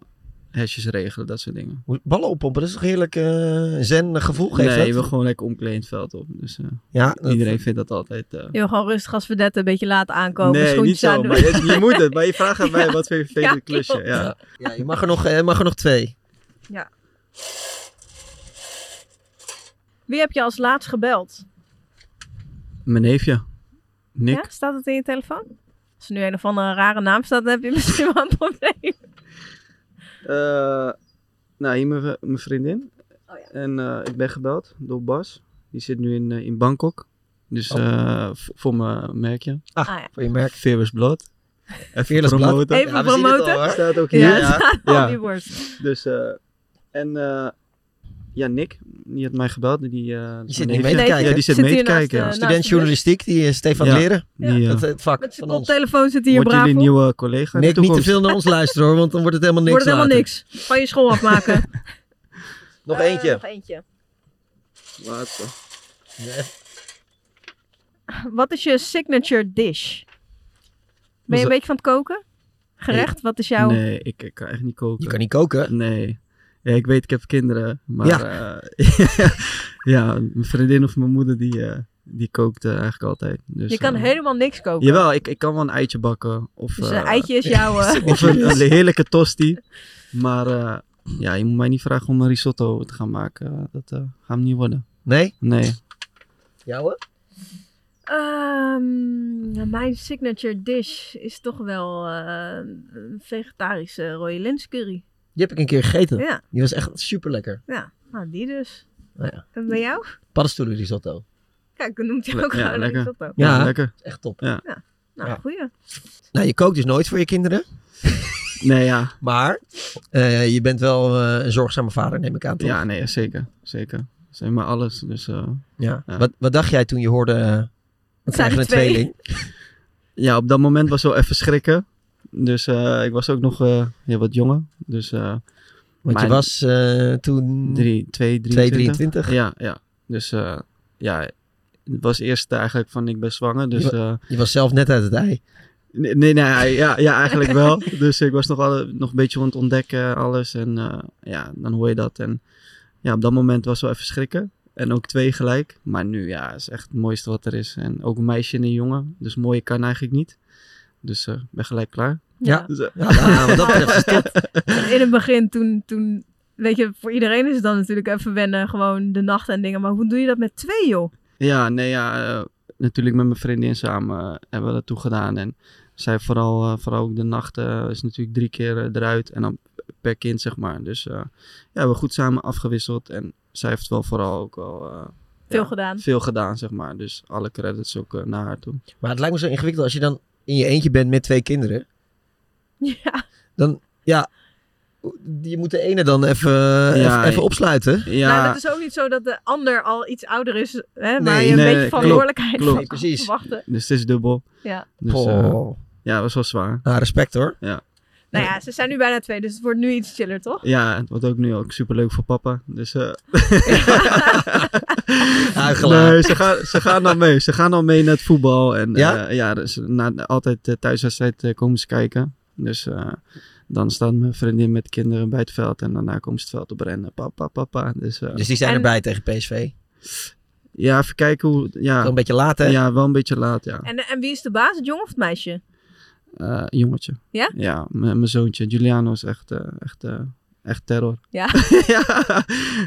Speaker 5: hesjes regelen, dat soort dingen.
Speaker 4: Hoe- Ballen oppompen, dat is toch heerlijk eh zen gevoel geeft
Speaker 5: nee,
Speaker 4: dat?
Speaker 5: we gewoon lekker omkleden het veld op. Dus eh,
Speaker 4: Ja, dat-
Speaker 5: iedereen vindt dat altijd... eh,
Speaker 3: Je wil gewoon rustig als vedette een beetje laten aankomen.
Speaker 5: nee,
Speaker 3: schoentjes
Speaker 5: niet zo.
Speaker 3: aandoen.
Speaker 5: Maar je, je moet het. Maar je
Speaker 3: *laughs*
Speaker 5: vraagt aan mij wat voor je
Speaker 3: Ja,
Speaker 5: favoriete
Speaker 3: klopt.
Speaker 5: klusje. Ja.
Speaker 4: Ja, je mag er, nog, eh, mag er nog twee.
Speaker 3: Ja. Wie heb je als laatst gebeld?
Speaker 5: Mijn neefje. Nick.
Speaker 3: Ja, staat het in je telefoon? Als er nu een of andere rare naam staat, dan heb je *laughs* misschien wel een probleem.
Speaker 5: Eh, nou, hier mijn, mijn vriendin.
Speaker 3: Oh,
Speaker 5: En eh, ik ben gebeld door Bas. Die zit nu in, eh, in Bangkok. Dus
Speaker 4: Oh.
Speaker 5: eh, v- voor mijn merkje.
Speaker 4: Ah,
Speaker 3: Ah, ja.
Speaker 4: voor je merk.
Speaker 5: Fearless Blood.
Speaker 4: Fearless Blood.
Speaker 3: Even
Speaker 4: Ja, we zien het al,
Speaker 3: promoten.
Speaker 4: hoor.
Speaker 5: Staat ook hier.
Speaker 3: Ja, het staat al
Speaker 5: Ja.
Speaker 3: op je borst.
Speaker 5: Dus, eh, en eh, ja, Nick, die had mij gebeld. Die, eh,
Speaker 4: Die
Speaker 5: mijn
Speaker 4: zit niet mee
Speaker 5: neefje.
Speaker 4: te kijken.
Speaker 5: Ja, die zit,
Speaker 3: Zit
Speaker 5: mee te
Speaker 3: hier naast eh, nou, de-
Speaker 5: kijken. ja.
Speaker 3: naast
Speaker 4: Student journalistiek, die eh, Stefan
Speaker 5: Ja,
Speaker 4: Leren.
Speaker 5: die, eh,
Speaker 4: Dat eh, het vak
Speaker 3: Met zijn
Speaker 4: van ons.
Speaker 3: koptelefoon zit hier
Speaker 5: Wordt
Speaker 3: braaf
Speaker 5: jullie
Speaker 3: op.
Speaker 5: nieuwe collega? in
Speaker 4: Nick,
Speaker 5: de
Speaker 4: niet te
Speaker 5: toekomst?
Speaker 4: veel naar ons luisteren hoor, want dan wordt het helemaal niks
Speaker 3: Wordt het helemaal
Speaker 4: later.
Speaker 3: niks. Van je school afmaken.
Speaker 4: *laughs* Nog
Speaker 3: Eh,
Speaker 4: eentje.
Speaker 3: nog eentje.
Speaker 5: Laatste.
Speaker 3: Wat is je signature dish? Ben je een
Speaker 5: dat-
Speaker 3: beetje van het koken? Gerecht? Wat is jouw...
Speaker 5: Nee, ik, ik kan echt niet koken. Je kan
Speaker 4: niet koken?
Speaker 5: Nee. Ja, ik weet, ik heb kinderen. Maar
Speaker 4: Ja.
Speaker 5: ja, *laughs* ja mijn vriendin of mijn moeder, die, eh, die kookt eh, eigenlijk altijd. Dus,
Speaker 3: je kan
Speaker 5: eh,
Speaker 3: helemaal niks koken.
Speaker 5: Jawel, ik, ik kan wel een eitje bakken. Of,
Speaker 3: Dus een
Speaker 5: eh,
Speaker 3: eitje is
Speaker 5: *laughs*
Speaker 3: jouw, eh,
Speaker 5: of een,
Speaker 3: *laughs*
Speaker 5: een heerlijke tosti. Maar eh, ja, je moet mij niet vragen om een risotto te gaan maken. Dat eh gaat hem niet worden.
Speaker 4: Nee?
Speaker 5: Nee.
Speaker 4: Jouwe?
Speaker 3: Ehm, nou, mijn signature dish is toch wel eh, een vegetarische rode lenscurry.
Speaker 4: Die heb ik een keer gegeten.
Speaker 3: Ja.
Speaker 4: Die was echt super lekker.
Speaker 3: Ja, nou die dus.
Speaker 4: Nou ja.
Speaker 3: En bij jou?
Speaker 4: Paddenstoelen risotto.
Speaker 3: Ja, ik noem het ook
Speaker 4: Le- ja,
Speaker 3: gewoon
Speaker 4: lekker.
Speaker 3: risotto.
Speaker 4: Ja, Ja, lekker. echt top.
Speaker 5: Ja.
Speaker 3: Nou,
Speaker 4: Ja.
Speaker 3: goeie.
Speaker 4: Nou, je kookt dus nooit voor je kinderen.
Speaker 5: Nee, ja.
Speaker 4: Maar eh, je bent wel eh, een zorgzame vader, neem ik aan, toch?
Speaker 5: Ja, nee, zeker. Zeker. Zijn maar alles. Dus, eh,
Speaker 4: Ja. Wat, wat dacht jij toen je hoorde, eh, we krijgen een
Speaker 5: twee.
Speaker 4: tweeling?
Speaker 5: Ja, op dat moment was wel even schrikken. Dus eh, ik was ook nog eh, ja, wat jonger. Dus, eh,
Speaker 4: Want je
Speaker 5: maar-
Speaker 4: was eh, toen...
Speaker 5: Drie, twee,
Speaker 4: 23.
Speaker 5: Ja, ja. Dus eh, ja, het was eerst eigenlijk van ik ben zwanger. Dus,
Speaker 4: je, wa- je was zelf net uit het ei.
Speaker 5: Nee, nee, nee, ja, ja, eigenlijk wel. *laughs* Dus ik was nog, alle, nog een beetje aan het ontdekken, alles. En eh, ja, dan hoor je dat. En ja, op dat moment was wel even schrikken. En ook twee gelijk. Maar nu, ja, is echt het mooiste wat er is. En ook een meisje en een jongen. Dus mooie kan eigenlijk niet. Dus eh, ben gelijk klaar.
Speaker 4: Ja.
Speaker 5: Dus, eh,
Speaker 4: Ja, nou,
Speaker 5: *laughs*
Speaker 4: wat dat betreft is het top.
Speaker 3: In het begin toen, toen, weet je, voor iedereen is het dan natuurlijk even wennen, gewoon de nacht en dingen. Maar hoe doe je dat met twee, joh?
Speaker 5: Ja, nee, ja, eh, natuurlijk met mijn vriendin samen eh, hebben we dat toe gedaan. En zij vooral, eh, vooral ook de nachten eh, is natuurlijk drie keer eh, eruit en dan per kind, zeg maar. Dus eh, ja, we hebben goed samen afgewisseld en zij heeft wel vooral ook wel... eh,
Speaker 3: Veel
Speaker 5: ja,
Speaker 3: gedaan.
Speaker 5: Veel gedaan, zeg maar. Dus alle credits ook eh, naar haar toe.
Speaker 4: Maar het lijkt me zo ingewikkeld als je dan in je eentje bent met twee kinderen.
Speaker 3: Ja.
Speaker 4: Dan, ja, je moet de ene dan even, even, even opsluiten.
Speaker 3: Nou, dat is ook niet zo dat de ander al iets ouder is, hè, maar
Speaker 4: Nee,
Speaker 3: je een
Speaker 4: nee,
Speaker 3: beetje
Speaker 4: klopt,
Speaker 3: verantwoordelijkheid
Speaker 5: klopt.
Speaker 3: van
Speaker 5: Precies.
Speaker 3: verwachten.
Speaker 5: Dus het is dubbel.
Speaker 3: Ja.
Speaker 5: Dus, eh, ja, was wel zwaar.
Speaker 4: Ah, respect hoor.
Speaker 5: Ja.
Speaker 3: Nou ja, ze zijn nu bijna twee, dus het wordt nu iets chiller, toch?
Speaker 5: Ja, het wordt ook nu ook superleuk voor papa. Dus. eh
Speaker 4: Huichelaar.
Speaker 5: *laughs* Nee, ze gaan, ze gaan al mee. Ze gaan al mee naar het voetbal. En ja, ja dus na, altijd eh, thuiswedstrijd eh, komen ze kijken. Dus eh, dan staat mijn vriendin met kinderen bij het veld. En daarna komen ze het veld op rennen. Papa, papa. Dus, eh,
Speaker 4: Dus die zijn erbij tegen PSV.
Speaker 5: Ja, even kijken hoe. Ja.
Speaker 4: Wel een beetje laat, hè?
Speaker 5: Ja, wel een beetje laat, ja.
Speaker 3: En, en wie is de baas, het jong of het meisje?
Speaker 5: Eh, jongetje.
Speaker 3: Ja?
Speaker 5: Ja, m- mijn zoontje. Giuliano is echt, eh, echt, eh, echt terror.
Speaker 3: Ja.
Speaker 5: *laughs* ja.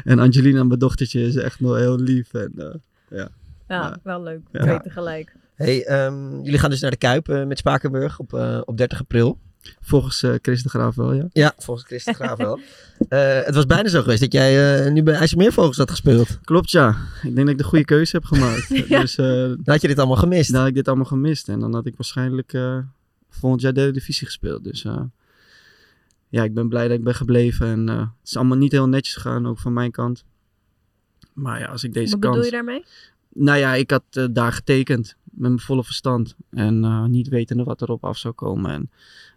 Speaker 5: En Angelina, mijn dochtertje, is echt nog heel lief. En, eh, ja.
Speaker 3: Ja,
Speaker 5: Maar-
Speaker 3: wel leuk.
Speaker 5: Ja.
Speaker 3: Twee tegelijk.
Speaker 4: Hey, ehm, jullie gaan dus naar de Kuip eh, met Spakenburg op, eh, op 30 april.
Speaker 5: Volgens eh, Chris de Graaf wel, ja.
Speaker 4: Ja, volgens Chris de Graaf wel. *laughs* Eh, het was bijna zo geweest dat jij eh, nu bij IJsselmeervogels had gespeeld.
Speaker 5: Klopt, ja. Ik denk dat ik de goede keuze heb
Speaker 3: *laughs*
Speaker 5: gemaakt.
Speaker 4: Ja.
Speaker 5: dus, eh, dan
Speaker 4: had je dit allemaal gemist.
Speaker 5: Dan had ik dit allemaal gemist. En dan had ik waarschijnlijk eh, volgend jaar derde divisie gespeeld. Dus eh, ja, ik ben blij dat ik ben gebleven. En eh, het is allemaal niet heel netjes gegaan, ook van mijn kant. Maar ja, als ik deze
Speaker 3: Wat
Speaker 5: kans...
Speaker 3: bedoel je daarmee?
Speaker 5: Nou ja, ik had eh, daar getekend met mijn volle verstand. En eh, niet wetende wat erop af zou komen. En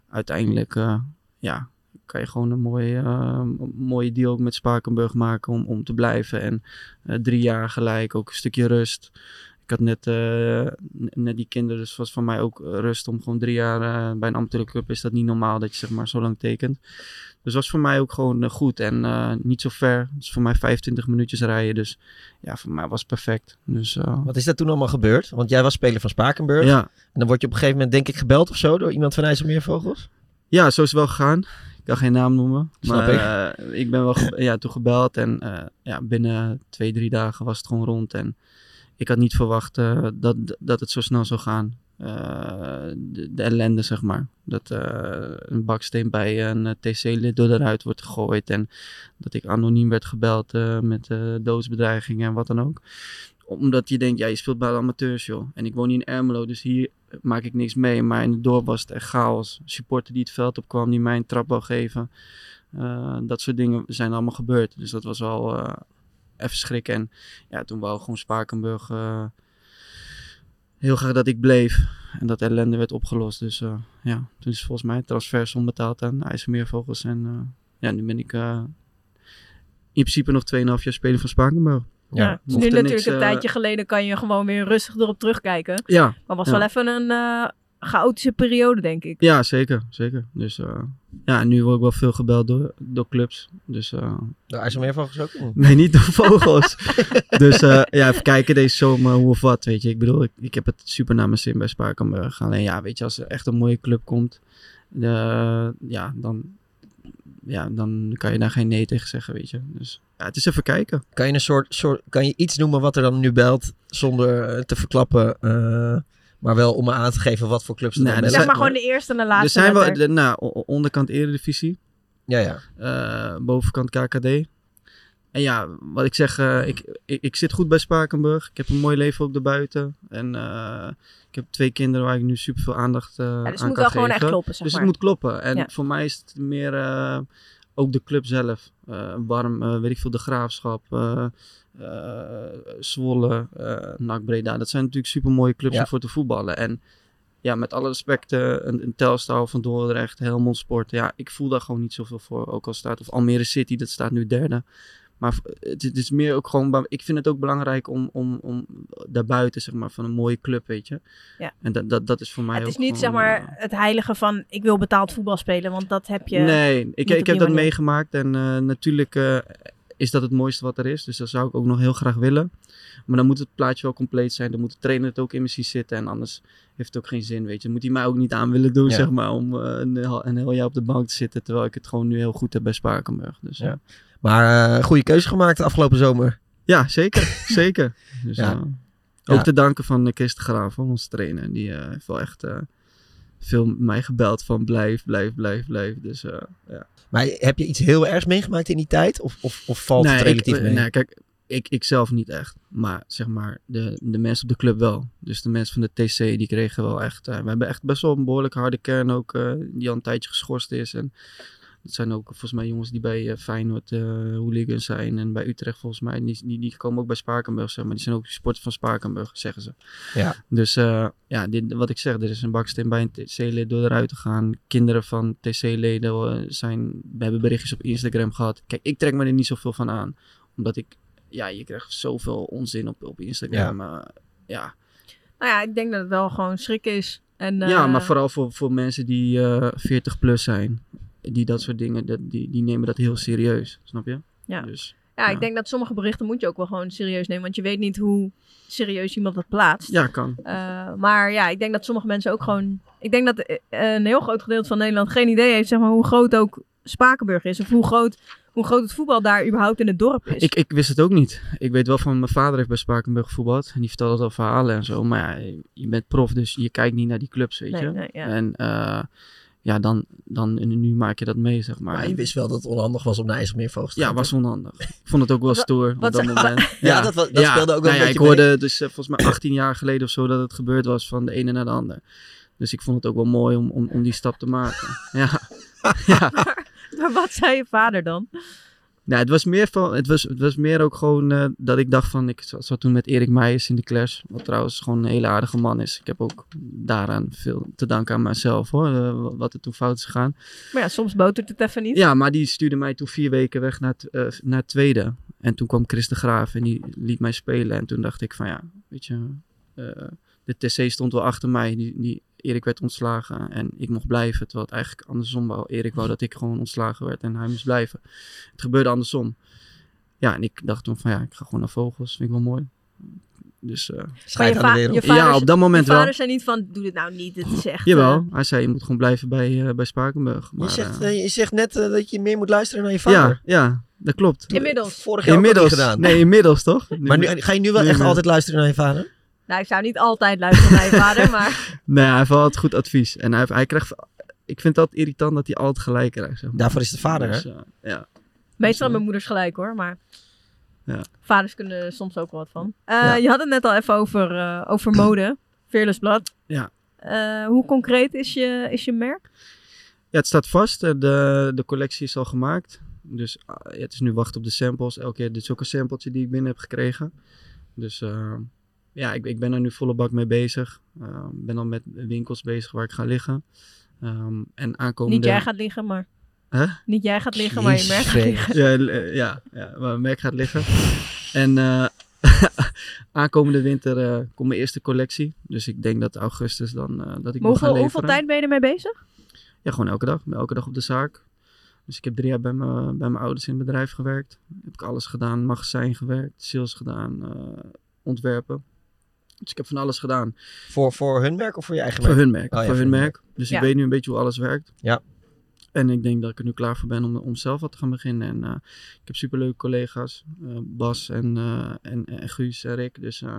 Speaker 5: uiteindelijk, eh, ja, kan je gewoon een mooie, eh, een mooie deal ook met Spakenburg maken om, om te blijven. En eh, drie jaar gelijk, ook een stukje rust. Ik had net, eh, n- net die kinderen, dus was voor mij ook eh, rust om gewoon drie jaar eh, bij een ambtelijke club. Is dat niet normaal dat je zeg maar zo lang tekent. Dus was voor mij ook gewoon eh, goed en eh, niet zo ver. Dus voor mij 25 minuutjes rijden. Dus ja, voor mij was het perfect. Dus, eh,
Speaker 4: Wat is dat toen allemaal gebeurd? Want jij was speler van Spakenburg.
Speaker 5: Ja.
Speaker 4: En dan word je op een gegeven moment denk ik gebeld of zo door iemand van IJsselmeervogels.
Speaker 5: Ja, zo is het wel gegaan. Ik kan geen naam noemen.
Speaker 4: Snap
Speaker 5: maar eh, ik ben wel ge- ja, toen gebeld en eh, ja, binnen twee, drie dagen was het gewoon rond. En ik had niet verwacht eh, dat, dat het zo snel zou gaan. Eh, de, de ellende, zeg maar. Dat eh, een baksteen bij een eh, TC-lid door de ruit wordt gegooid. En dat ik anoniem werd gebeld eh, met eh doodsbedreigingen en wat dan ook. Omdat je denkt, ja, je speelt bij de amateurs, joh. En ik woon hier in Ermelo, dus hier maak ik niks mee. Maar in het dorp was het echt chaos. Supporter die het veld opkwam, die mij een trap wou geven. Eh, dat soort dingen zijn allemaal gebeurd. Dus dat was wel eh, even schrikken. En ja, toen wou gewoon Spakenburg eh, heel graag dat ik bleef. En dat ellende werd opgelost. Dus eh, ja, toen is volgens mij transversum betaald aan IJsselmeervogels. En eh, ja, nu ben ik eh, in principe nog 2,5 jaar speler van Spakenburg.
Speaker 3: Ja, het is nu
Speaker 5: hoefde
Speaker 3: natuurlijk
Speaker 5: niks,
Speaker 3: een
Speaker 5: eh,
Speaker 3: tijdje geleden kan je gewoon weer rustig erop terugkijken.
Speaker 5: Ja,
Speaker 3: Maar was
Speaker 5: ja.
Speaker 3: wel even een eh, chaotische periode, denk ik.
Speaker 5: Ja, zeker. zeker. Dus eh, ja, nu word ik wel veel gebeld door, door clubs. Dus, eh, *laughs*
Speaker 4: De IJsselmeervogels ook? niet?
Speaker 5: Nee, niet door *laughs* vogels. dus eh, ja, even kijken deze zomer hoe of wat, weet je. Ik bedoel, ik, ik heb het super naar mijn zin bij Spakenburg. Alleen ja, weet je, als er echt een mooie club komt, eh, ja, dan, ja, dan kan je daar geen nee tegen zeggen, weet je. Dus ja, het is even kijken.
Speaker 4: Kan je, een soort, soort, kan je iets noemen wat er dan nu belt zonder eh, te verklappen, eh, maar wel om me aan te geven wat voor clubs er
Speaker 5: Nee,
Speaker 4: dan
Speaker 5: dat
Speaker 4: bellen?
Speaker 3: Zeg maar gewoon de eerste en de laatste.
Speaker 5: Er zijn wel,
Speaker 3: letter.
Speaker 5: de, nou, o- o- onderkant Eredivisie.
Speaker 4: Ja, ja.
Speaker 5: eh, bovenkant KKD. En ja, wat ik zeg, eh, ik, ik, ik zit goed bij Spakenburg. Ik heb een mooi leven ook daarbuiten. En eh, ik heb twee kinderen waar ik nu super veel aandacht eh
Speaker 3: dus het
Speaker 5: aan
Speaker 3: moet
Speaker 5: kan
Speaker 3: wel gewoon
Speaker 5: geven.
Speaker 3: echt kloppen, zeg
Speaker 5: dus
Speaker 3: maar.
Speaker 5: het moet kloppen. En
Speaker 3: Ja.
Speaker 5: voor mij is het meer eh, ook de club zelf. Eh, warm, eh, weet ik veel, de Graafschap, eh, eh, Zwolle, eh NAC Breda. Dat zijn natuurlijk super mooie clubs
Speaker 4: Ja.
Speaker 5: om voor te voetballen. En ja, met alle respect, eh, een, een Telstar van Dordrecht, Helmond Sport. Ja, ik voel daar gewoon niet zoveel voor. Ook al staat, of Almere City, dat staat nu derde. Maar v- eh, het, het is meer ook gewoon, ba- ik vind het ook belangrijk om, om, om daarbuiten, zeg maar, van een mooie club, weet je.
Speaker 3: Ja.
Speaker 5: En dat, dat, dat is voor mij
Speaker 3: Het
Speaker 5: ook
Speaker 3: is niet zeg
Speaker 5: gewoon, eh,
Speaker 3: maar het heilige van ik wil betaald voetbal spelen, want dat heb je. niet
Speaker 5: Nee, ik,
Speaker 3: op
Speaker 5: ik
Speaker 3: die
Speaker 5: heb dat
Speaker 3: manier.
Speaker 5: meegemaakt en eh, natuurlijk eh, is dat het mooiste wat er is. Dus dat zou ik ook nog heel graag willen. Maar dan moet het plaatje wel compleet zijn. Dan moet de trainer het ook in me zien zitten. En anders heeft het ook geen zin, weet je. Moet hij mij ook niet aan willen doen,
Speaker 4: Ja.
Speaker 5: zeg maar, om eh, een, heel, een heel jaar op de bank te zitten. Terwijl ik het gewoon nu heel goed heb bij Spakenburg. Dus,
Speaker 4: Ja.
Speaker 5: ja.
Speaker 4: Maar eh, goede keuze gemaakt de afgelopen zomer.
Speaker 5: ja, zeker. *laughs* zeker. Dus,
Speaker 4: Ja.
Speaker 5: eh, ook
Speaker 4: Ja.
Speaker 5: te danken van eh, Chris de Graaf, van onze trainer. Die eh, heeft wel echt eh, veel mij gebeld van blijf, blijf, blijf, blijf. Dus eh, ja.
Speaker 4: Maar heb je iets heel ergs meegemaakt in die tijd? Of, of, of valt het relatief
Speaker 5: ik, eh,
Speaker 4: mee?
Speaker 5: Nee, kijk, ik, ik zelf niet echt. Maar zeg maar, de, de mensen op de club wel. Dus de mensen van de TC, die kregen wel echt... eh, we hebben echt best wel een behoorlijk harde kern ook, eh, die al een tijdje geschorst is. En dat zijn ook volgens mij jongens die bij eh, Feyenoord eh hooligans zijn. En bij Utrecht volgens mij, die, die, die komen ook bij Spakenburg, zeg maar. Die zijn ook supporters van Spakenburg, zeggen ze.
Speaker 4: Ja.
Speaker 5: Dus eh, ja, dit, wat ik zeg, er is een baksteen bij een TC-lid door eruit te gaan. Kinderen van TC-leden eh, zijn, we hebben berichtjes op Instagram gehad. Kijk, ik trek me er niet zoveel van aan. Omdat ik, ja, je krijgt zoveel onzin op, op Instagram. eh, Ja, ja.
Speaker 3: Nou ja, ik denk dat het wel gewoon schrik is. En,
Speaker 5: maar
Speaker 3: eh,
Speaker 5: vooral voor, voor mensen die eh 40 plus zijn. Die dat soort dingen, dat, die, die nemen dat heel serieus. Snap je?
Speaker 3: Ja.
Speaker 5: Dus,
Speaker 3: ja, ik denk dat sommige berichten moet je ook wel gewoon serieus nemen, want je weet niet hoe serieus iemand dat plaatst.
Speaker 5: ja, kan.
Speaker 3: Eh, maar ja, ik denk dat sommige mensen ook gewoon. Ik denk dat eh, een heel groot gedeelte van Nederland geen idee heeft, zeg maar, hoe groot ook Spakenburg is. Of hoe groot, hoe groot het voetbal daar überhaupt in het dorp is.
Speaker 5: Ik, ik wist het ook niet. Ik weet wel van mijn vader heeft bij Spakenburg gevoetbald. En die vertelde al verhalen en zo. Maar ja, je bent prof, dus je kijkt niet naar die clubs, weet
Speaker 3: Nee,
Speaker 5: je.
Speaker 3: nee, ja.
Speaker 5: En eh, ja, dan, dan nu maak je dat mee, zeg maar.
Speaker 4: Maar je wist wel dat het onhandig was om naar IJsselmeervogels te
Speaker 5: Ja,
Speaker 4: gaan,
Speaker 5: was
Speaker 4: toch?
Speaker 5: onhandig. Ik vond het ook wel
Speaker 4: Wat- wat
Speaker 5: stoer op
Speaker 3: *laughs*
Speaker 5: dat
Speaker 4: ze-
Speaker 5: moment.
Speaker 4: wa- Ja, dat wa- dat speelde ook wel een
Speaker 5: nou ja, Ik
Speaker 4: beetje
Speaker 5: hoorde
Speaker 4: mee.
Speaker 5: dus eh, volgens mij 18 jaar geleden of zo dat het gebeurd was van de ene naar de ander. Dus ik vond het ook wel mooi om, om, om die stap te maken. *laughs* ja.
Speaker 3: Maar *laughs* wat zei je vader dan?
Speaker 5: Nou, het was meer, van, het was, het was meer ook gewoon eh, dat ik dacht van... Ik zat, zat toen met Erik Meijers in de klas. Wat trouwens gewoon een hele aardige man is. Ik heb ook daaraan veel te danken aan mezelf hoor. eh, wat er toen fout is gegaan.
Speaker 3: Maar ja, soms botert het even niet.
Speaker 5: Ja, maar die stuurde mij toen vier weken weg naar, het, eh, naar het tweede. En toen kwam Chris de Graaf en die liet mij spelen. En toen dacht ik van ja, weet je... eh, de TC stond wel achter mij. Die, die, Erik werd ontslagen en ik mocht blijven. Terwijl het eigenlijk andersom wou. Erik wou dat ik gewoon ontslagen werd en hij moest blijven. Het gebeurde andersom. Ja, en ik dacht toen van ja, ik ga gewoon naar Vogels. Vind ik wel mooi. Dus... eh,
Speaker 3: Maar je, va- je vader,
Speaker 5: ja, op dat moment
Speaker 3: je vader
Speaker 5: wel.
Speaker 3: zei niet van, doe dit nou niet, dit is echt...
Speaker 5: Jawel, hij zei je moet gewoon blijven bij, eh, bij Spakenburg. Maar,
Speaker 4: Je
Speaker 5: eh,
Speaker 4: zegt, eh, je zegt net eh, dat je meer moet luisteren naar je vader.
Speaker 5: Ja, ja, dat klopt.
Speaker 3: Inmiddels.
Speaker 4: Vorig jaar ook
Speaker 5: inmiddels,
Speaker 4: al niet gedaan.
Speaker 5: Nee, inmiddels toch?
Speaker 4: Maar nu, ga je nu wel echt
Speaker 5: meer.
Speaker 4: altijd luisteren naar je vader?
Speaker 3: eh, nou, ik zou niet altijd luisteren naar je vader,
Speaker 5: *laughs*
Speaker 3: maar...
Speaker 5: Nee, hij heeft wel altijd goed advies. En hij, hij krijgt... Ik vind het altijd irritant dat hij altijd gelijk krijgt. Zeg maar.
Speaker 4: Daarvoor is de vader,
Speaker 5: Dus,
Speaker 4: hè?
Speaker 5: eh, ja.
Speaker 3: Meestal mijn moeders gelijk hoor, maar...
Speaker 5: Ja.
Speaker 3: Vaders kunnen er soms ook wel wat van. Eh,
Speaker 5: Ja.
Speaker 3: Je had het net al even over, eh, over
Speaker 4: *clears throat*
Speaker 3: mode. Fearless Blood.
Speaker 5: Ja.
Speaker 3: Eh, hoe concreet is je, is je merk?
Speaker 5: Ja, het staat vast. Eh, De, de collectie is al gemaakt. Dus ah, ja, het is nu wachten op de samples. Elke keer, dit is ook een sampletje die ik binnen heb gekregen. Dus eh, ja, ik, ik ben er nu volle bak mee bezig. Eh, Ik ben al met winkels bezig waar ik ga liggen. Ehm, en aankomende...
Speaker 3: Niet jij gaat liggen, maar...
Speaker 5: Huh?
Speaker 3: Niet jij gaat liggen, maar je merk gaat liggen.
Speaker 5: Ja, l- eh, *laughs* ja, ja, waar mijn merk gaat liggen. En eh, aankomende winter eh, komt mijn eerste collectie. Dus ik denk dat augustus dan eh, dat ik
Speaker 3: Maar
Speaker 5: moet
Speaker 3: hoeveel,
Speaker 5: gaan
Speaker 3: hoeveel
Speaker 5: leveren.
Speaker 3: tijd ben je ermee bezig?
Speaker 5: Ja, gewoon elke dag. Elke dag op de zaak. Dus ik heb drie jaar bij, mijn bij mijn ouders in het bedrijf gewerkt. Heb ik alles gedaan. Magazijn gewerkt, sales gedaan, eh, ontwerpen. Dus ik heb van alles gedaan.
Speaker 4: Voor, voor hun merk of voor je eigen merk?
Speaker 5: Voor hun merk.
Speaker 4: Oh ja,
Speaker 5: voor hun merk. Dus
Speaker 4: Ja.
Speaker 5: ik weet nu een beetje hoe alles werkt.
Speaker 4: Ja.
Speaker 5: En ik denk dat ik er nu klaar voor ben om, om zelf wat te gaan beginnen. En eh, ik heb superleuke collega's. eh, Bas en, eh, en, en Guus en Rick. Dus eh,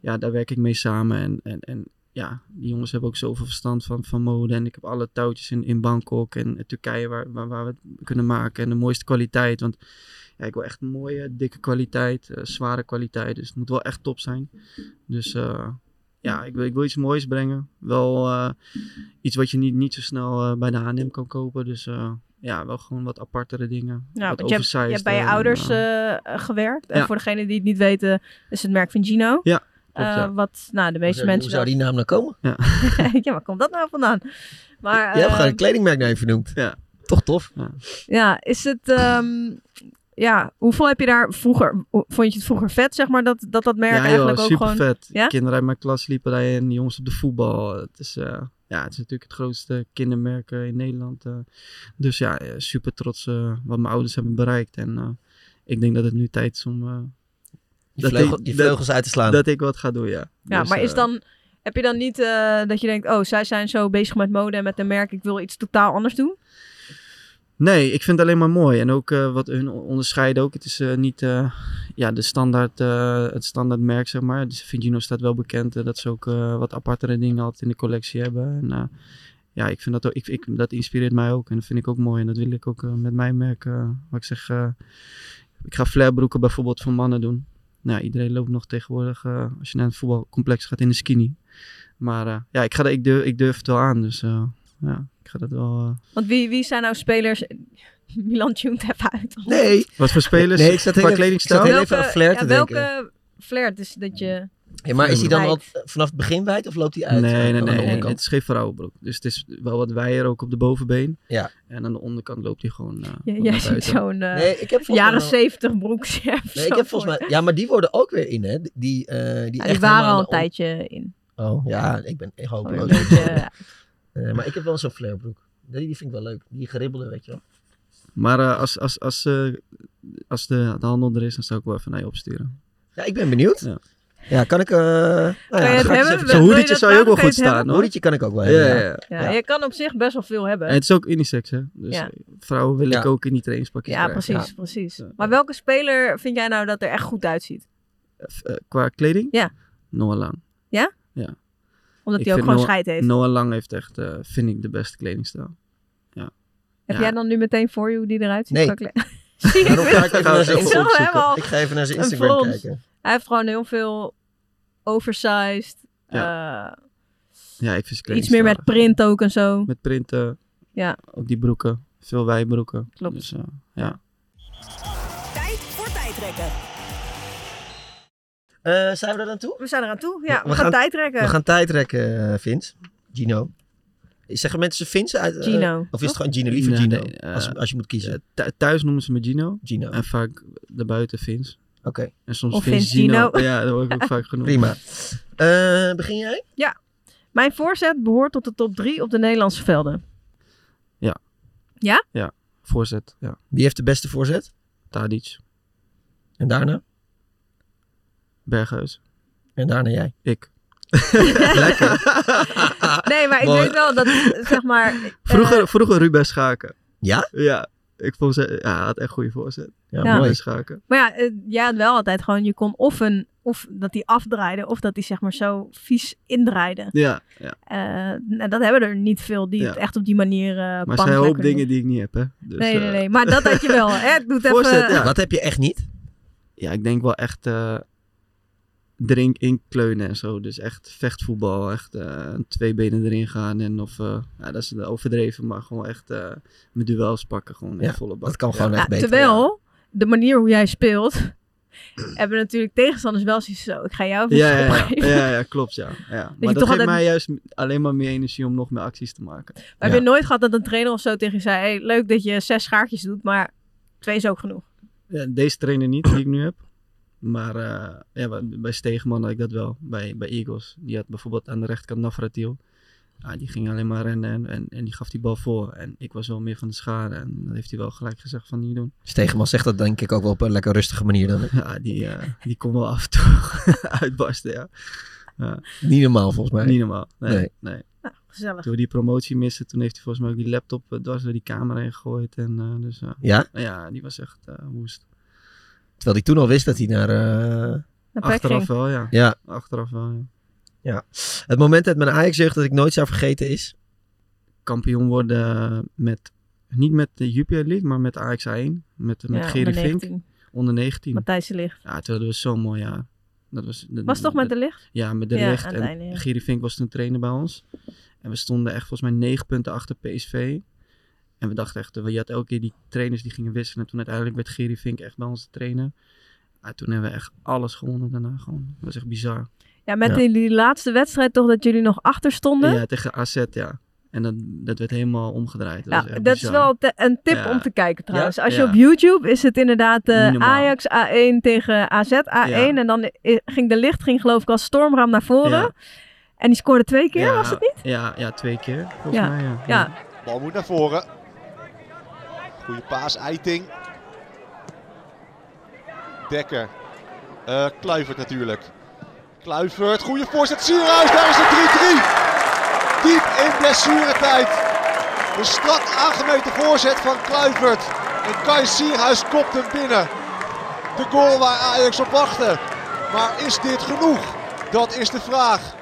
Speaker 5: ja, daar werk ik mee samen. En, en, en ja, die jongens hebben ook zoveel verstand van, van mode. En ik heb alle touwtjes in, in Bangkok en Turkije waar, waar, waar we het kunnen maken. En de mooiste kwaliteit. Want ja, ik wil echt mooie, dikke kwaliteit. eh, zware kwaliteit. Dus het moet wel echt top zijn. Dus eh, ja, ik wil, ik wil iets moois brengen. Wel eh, iets wat je niet, niet zo snel eh, bij de H&M kan kopen. Dus eh, ja, wel gewoon wat apartere dingen.
Speaker 3: Nou,
Speaker 5: wat
Speaker 3: want je, hebt, je hebt
Speaker 5: oversized,
Speaker 3: bij je
Speaker 5: eh, en,
Speaker 3: ouders
Speaker 4: nou.
Speaker 5: eh,
Speaker 3: eh, gewerkt. En
Speaker 5: ja.
Speaker 3: voor degenen die het niet weten, is het merk van Gino.
Speaker 5: Ja,
Speaker 3: Eh,
Speaker 4: klopt, ja.
Speaker 3: Wat, nou, de meeste
Speaker 4: Hoe zou-
Speaker 3: mensen...
Speaker 4: Hoe zou die naam nou komen?
Speaker 5: Ja.
Speaker 3: *laughs* wel- ja, waar komt dat nou
Speaker 4: *laughs*
Speaker 3: vandaan? Maar,
Speaker 4: Je hebt
Speaker 3: eh,
Speaker 4: gewoon een kledingmerk naar je vernoemd.
Speaker 5: Ja.
Speaker 4: Toch tof.
Speaker 3: Ja, is het. ehm, ja, hoeveel heb je daar vroeger. Vond je het vroeger vet, zeg maar, dat dat, dat merk
Speaker 5: ja,
Speaker 3: eigenlijk
Speaker 5: joh,
Speaker 3: ook
Speaker 5: super
Speaker 3: gewoon.
Speaker 5: vet.
Speaker 3: Ja?
Speaker 5: Kinderen uit mijn klas liepen daarheen en die jongens op de voetbal. Het is, eh, ja, het is natuurlijk het grootste kindermerk eh, in Nederland. eh. dus ja, eh, super trots eh, wat mijn ouders hebben bereikt. En eh, ik denk dat het nu tijd is om... eh,
Speaker 4: Die
Speaker 5: dat
Speaker 4: vleugel-
Speaker 5: ik-
Speaker 4: die
Speaker 5: dat-
Speaker 4: vleugels uit te slaan.
Speaker 5: Dat ik wat ga doen, ja.
Speaker 3: Ja,
Speaker 5: Dus,
Speaker 3: maar is
Speaker 5: eh,
Speaker 3: dan. Heb je dan niet eh, dat je denkt, oh, zij zijn zo bezig met mode en met een merk, ik wil iets totaal anders doen?
Speaker 5: Nee, ik vind het alleen maar mooi. En ook eh, wat hun onderscheiden ook. Het is eh, niet eh, ja, de standaard, eh, het standaard merk, zeg maar. Dus Vingino staat wel bekend eh, dat ze ook eh, wat apartere dingen altijd in de collectie hebben. En eh, ja, ik vind dat, ook, ik, ik, dat inspireert mij ook. En dat vind ik ook mooi. En dat wil ik ook eh, met mijn merk. eh wat ik zeg, eh, ik ga flarebroeken bijvoorbeeld voor mannen doen. Nou, iedereen loopt nog tegenwoordig, eh, als je naar het voetbalcomplex gaat, in de skinny. Maar eh, ja, ik, ga, er- ik, durf, ik durf het wel aan. Dus eh, ja, ik ga dat wel... eh,
Speaker 3: Want wie, wie zijn nou spelers. *laughs* Milan tuned even uit.
Speaker 4: Nee.
Speaker 5: Wat voor spelers?
Speaker 4: Nee, ik zat
Speaker 5: Qua
Speaker 4: heel, even, ik
Speaker 5: kledingstijl?
Speaker 4: zat heel
Speaker 3: Welke-
Speaker 4: even aan flair
Speaker 3: Eh, ja,
Speaker 4: te
Speaker 3: welke
Speaker 4: denken.
Speaker 3: flair dus dat je.
Speaker 4: Ja, maar is hij dan al
Speaker 3: Wijd.
Speaker 4: vanaf het begin wijd of loopt hij uit?
Speaker 5: Nee, nee,
Speaker 4: Aan de
Speaker 5: nee, nee,
Speaker 4: onderkant?
Speaker 5: Het is geen vrouwenbroek. Dus het is wel wat wijder ook op de bovenbeen.
Speaker 4: Ja.
Speaker 5: En aan de onderkant loopt hij gewoon. eh,
Speaker 3: Ja, *laughs*
Speaker 5: wat
Speaker 3: jij *laughs*
Speaker 5: naar
Speaker 3: ziet
Speaker 5: buiten.
Speaker 3: zo'n eh,
Speaker 4: Nee, ik heb volgens mij
Speaker 3: jaren
Speaker 4: wel-
Speaker 3: zeventig broek. zeg,
Speaker 4: Nee,
Speaker 3: zo
Speaker 4: ik heb volgens
Speaker 3: voor
Speaker 4: mij...
Speaker 3: je.
Speaker 4: Ja, maar die worden ook weer in, hè? Die, die, eh, die,
Speaker 3: Ja,
Speaker 4: echt
Speaker 3: die waren
Speaker 4: helemaal
Speaker 3: al
Speaker 4: aan
Speaker 3: een
Speaker 4: de on-
Speaker 3: tijdje in.
Speaker 4: Oh, ja, ik ben echt hopeloos.
Speaker 3: Gewoon een
Speaker 4: *laughs*
Speaker 3: beetje-
Speaker 4: Eh, maar ik heb wel zo'n flairbroek. Die, die vind ik wel leuk. Die geribbelde, weet je wel.
Speaker 5: Maar eh, als, als, als, eh, als de, de handel er is, dan zou ik wel even naar je opsturen.
Speaker 4: Ja, ik ben benieuwd.
Speaker 5: Ja.
Speaker 4: Ja, kan ik... eh nou
Speaker 3: je
Speaker 4: ja,
Speaker 3: het
Speaker 4: ga ik eens
Speaker 3: hebben?
Speaker 4: even-
Speaker 3: Wil-
Speaker 5: Zo'n
Speaker 3: wil je
Speaker 5: hoedetje
Speaker 3: dat
Speaker 5: zou je ook
Speaker 3: vragen?
Speaker 5: wel goed
Speaker 3: Kan je het
Speaker 5: staan
Speaker 3: hebben?
Speaker 5: hoor.
Speaker 4: Hoedetje kan ik ook wel
Speaker 5: Ja,
Speaker 4: hebben,
Speaker 5: ja,
Speaker 4: ja.
Speaker 5: ja.
Speaker 3: Ja, je kan op zich best wel veel hebben.
Speaker 5: En het is ook unisex, hè? Dus
Speaker 3: Ja.
Speaker 5: vrouwen wil ik
Speaker 4: Ja.
Speaker 5: ook in die trainingspakjes
Speaker 3: Ja,
Speaker 5: krijgen.
Speaker 3: precies,
Speaker 4: Ja.
Speaker 3: precies. Maar welke speler vind jij nou dat er echt goed uitziet?
Speaker 5: Eh, qua kleding?
Speaker 3: Ja.
Speaker 5: Noah Lang.
Speaker 3: Ja?
Speaker 5: Ja.
Speaker 3: Omdat
Speaker 5: Ik
Speaker 3: hij ook
Speaker 5: vind
Speaker 3: gewoon
Speaker 5: Noah-
Speaker 3: scheid heeft.
Speaker 5: Noah Lang heeft echt, eh, vind ik, de beste kledingstijl. Ja.
Speaker 3: Heb
Speaker 5: Ja.
Speaker 3: jij dan nu meteen voor je hoe die eruit ziet?
Speaker 4: Nee.
Speaker 3: Qua kle- *laughs* Zie je,
Speaker 4: *laughs*
Speaker 3: ik
Speaker 4: Daarom
Speaker 3: ben-
Speaker 4: ga ik even naar zijn
Speaker 3: ik zal
Speaker 4: Instagram
Speaker 3: hem
Speaker 4: kijken.
Speaker 3: al
Speaker 4: Ik ga even naar zijn
Speaker 3: een
Speaker 4: Instagram
Speaker 3: frons.
Speaker 4: kijken.
Speaker 3: Hij heeft gewoon heel veel oversized. eh,
Speaker 5: Ja, ik vind zijn
Speaker 3: iets meer met
Speaker 5: kledingstijl
Speaker 3: print ook en zo.
Speaker 5: echt- Met printen.
Speaker 3: Ja,
Speaker 5: Ook die broeken. Veel wijbroeken.
Speaker 3: Klopt.
Speaker 5: Dus, eh, ja.
Speaker 6: Tijd voor tijdrekken.
Speaker 4: Eh, zijn we daar aan toe?
Speaker 3: we zijn eraan toe. Ja, we, gaan, tijd trekken.
Speaker 4: We gaan tijdrekken, eh, Vince. Gino. Zeggen mensen Vince uit? eh,
Speaker 3: Gino,
Speaker 4: Of is het
Speaker 3: toch?
Speaker 4: gewoon Gino? Liever
Speaker 5: Nee,
Speaker 4: Gino.
Speaker 5: nee, eh,
Speaker 4: als, als je moet kiezen.
Speaker 5: Thu- Thuis noemen ze me Gino.
Speaker 4: Gino.
Speaker 5: En vaak daarbuiten Vins.
Speaker 4: Oké.
Speaker 5: En soms
Speaker 3: Of
Speaker 5: Vins
Speaker 3: Vins
Speaker 5: Gino.
Speaker 3: Gino.
Speaker 5: Ja, dat word
Speaker 3: *laughs*
Speaker 5: ik ook vaak genoemd.
Speaker 4: Prima. Eh, begin jij?
Speaker 3: Ja. Mijn voorzet behoort tot de top 3 op de Nederlandse velden.
Speaker 5: Ja.
Speaker 3: Ja?
Speaker 5: Ja. Voorzet. Ja.
Speaker 4: Wie heeft de beste voorzet?
Speaker 5: Tadic.
Speaker 4: En daarna?
Speaker 5: Berghuis.
Speaker 4: En daarna jij.
Speaker 5: Ik.
Speaker 3: Eh.
Speaker 4: Ah,
Speaker 3: Nee, maar ik
Speaker 5: Mooi.
Speaker 3: weet
Speaker 4: *laughs*
Speaker 3: wel dat, zeg maar... eh,
Speaker 5: Vroeger, vroeger Ruben Schaken.
Speaker 4: Ja?
Speaker 5: Ja. Ik vond ze... Ja, hij had echt goede voorzet.
Speaker 4: Ja,
Speaker 3: Ja.
Speaker 4: mooi.
Speaker 5: Ruben Schaken.
Speaker 3: Maar ja, eh, jij had wel altijd gewoon, je kon of, een, of dat die afdraaide, of dat die zeg maar zo vies indraaide.
Speaker 5: Ja. ja.
Speaker 3: Eh, nou, dat hebben er niet veel die
Speaker 5: Ja.
Speaker 3: het echt op die manier eh
Speaker 5: Maar
Speaker 3: pan
Speaker 5: zij
Speaker 3: lekker
Speaker 5: hoop
Speaker 3: doen.
Speaker 5: dingen die ik niet heb, hè. Dus,
Speaker 3: nee, nee,
Speaker 5: eh,
Speaker 3: nee. Maar dat had je wel. Hè? Het doet
Speaker 5: *laughs* Voorzet,
Speaker 3: even...
Speaker 5: ja.
Speaker 4: Wat Nou, heb je echt niet?
Speaker 5: ja, ik denk wel echt eh, drink inkleunen en zo. Dus echt vechtvoetbal. Echt eh, twee benen erin gaan. En of, eh, ja, dat is overdreven, maar gewoon echt eh met duels pakken. Gewoon echt
Speaker 4: Ja,
Speaker 5: volle bak.
Speaker 4: dat kan gewoon
Speaker 5: Ja.
Speaker 3: Ja,
Speaker 4: echt beter.
Speaker 3: terwijl, de manier hoe jij speelt, *clears throat* hebben natuurlijk tegenstanders wel zoiets zo. Ik ga jou even
Speaker 5: Ja,
Speaker 3: een schop
Speaker 5: ja, ja,
Speaker 3: geven.
Speaker 5: ja, ja, klopt, ja. ja. Maar
Speaker 3: je
Speaker 5: dat
Speaker 3: toch
Speaker 5: geeft
Speaker 3: altijd-
Speaker 5: mij juist alleen maar meer energie om nog meer acties te maken.
Speaker 3: Maar *laughs* heb je nooit gehad dat een trainer of zo tegen je zei, hey, leuk dat je zes schaartjes doet, maar twee is ook genoeg.
Speaker 5: Ja, deze trainer niet, die ik nu heb. Maar eh, ja, bij- bij Steegman had ik dat wel, bij, bij Eagles. Die had bijvoorbeeld aan de rechterkant Navratil. Ja, die ging alleen maar rennen en, en, en die gaf die bal voor. En ik was wel meer van de schade. En dat heeft hij wel gelijk gezegd van niet doen. *laughs*
Speaker 4: Stegeman zegt dat denk ik ook wel op een lekker rustige manier dan.
Speaker 5: Ja, die, eh, die kon wel af en toe *laughs* uitbarsten, ja. Ja.
Speaker 4: Niet normaal volgens mij.
Speaker 5: Niet normaal, nee.
Speaker 4: Nee.
Speaker 5: nee.
Speaker 3: Nou, gezellig.
Speaker 5: Toen we die promotie misten, toen heeft hij volgens mij ook die laptop eh, dwars door die camera heen gegooid. En, eh, dus, eh,
Speaker 4: Ja?
Speaker 5: Ja, die was echt eh, woest.
Speaker 4: Terwijl hij toen al wist dat hij naar... eh,
Speaker 3: Naar Peking.
Speaker 5: Achteraf wel, ja.
Speaker 4: Ja.
Speaker 5: Achteraf wel, ja.
Speaker 4: ja. Het moment uit mijn Ajax-jeugd dat ik nooit zou vergeten is...
Speaker 5: Kampioen worden met, niet met de Jupiler League, maar met de AXA1. Met,
Speaker 3: Ja,
Speaker 5: met Gerry
Speaker 3: onder
Speaker 5: Vink.
Speaker 3: 19.
Speaker 5: Onder 19.
Speaker 3: Matthijs de Ligt.
Speaker 5: Ja, toen hadden we zo'n mooi jaar. Dat was, dat-
Speaker 3: Was het toch met
Speaker 5: dat-
Speaker 3: De Ligt?
Speaker 5: Ja, met de
Speaker 3: Ja,
Speaker 5: licht.
Speaker 3: aan het
Speaker 5: En
Speaker 3: einde, ja.
Speaker 5: Gerry Vink was toen trainer bij ons. En we stonden echt volgens mij negen punten achter PSV. En we dachten echt, eh, je had elke keer die trainers die gingen wisselen. En toen uiteindelijk werd Gerry Vink echt bij ons de trainer. Ja, toen hebben we echt alles gewonnen daarna gewoon. Dat was echt bizar.
Speaker 3: Ja, met die, die laatste wedstrijd toch dat jullie nog achter stonden.
Speaker 5: Ja, tegen AZ, ja. En dat, dat werd helemaal omgedraaid. Dat,
Speaker 3: Ja,
Speaker 5: was echt
Speaker 3: Nou, dat is
Speaker 5: bizar.
Speaker 3: wel te- een tip
Speaker 5: Ja.
Speaker 3: om te kijken trouwens.
Speaker 5: Ja?
Speaker 3: Als je
Speaker 5: Ja.
Speaker 3: op YouTube is het inderdaad eh,
Speaker 5: Niet normaal.
Speaker 3: Ajax A1 tegen AZ A1.
Speaker 5: Ja.
Speaker 3: En dan i- ging de licht ging geloof ik als stormram naar voren.
Speaker 5: Ja.
Speaker 3: En die scoorde twee keer,
Speaker 5: Ja,
Speaker 3: was het niet?
Speaker 5: Ja, ja twee keer. Volgens
Speaker 3: Ja.
Speaker 5: mij, ja.
Speaker 3: Ja.
Speaker 7: Bal moet naar voren. Goede paas, Eiting. Dekker. Eh, Kluivert natuurlijk. Kluivert, goede voorzet. Sierhuis, daar is het 3-3. Diep in blessuretijd. De strak aangemeten voorzet van Kluivert. En Kai Sierhuis kopt hem binnen. De goal waar Ajax op wachtte. Maar is dit genoeg? Dat is de vraag.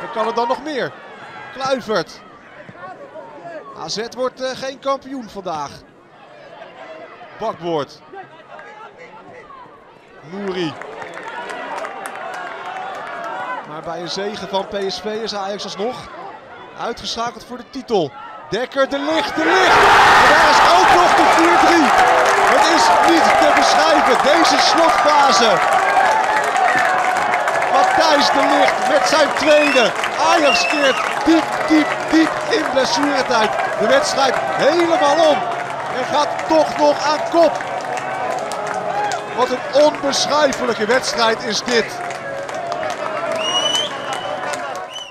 Speaker 7: Dan kan het dan nog meer. Kluivert. AZ wordt eh, geen kampioen vandaag. Bakboord. Nouri. Maar bij een zegen van PSV is Ajax alsnog uitgeschakeld voor de titel. Dekker, de licht, de licht. En daar is ook nog de 4-3. Het is niet te beschrijven, deze slotfase. Matthijs de Ligt met zijn tweede. Ajax keert diep, diep, diep in blessuretijd. De wedstrijd helemaal om. En gaat toch nog aan kop. Wat een onbeschrijfelijke wedstrijd is dit.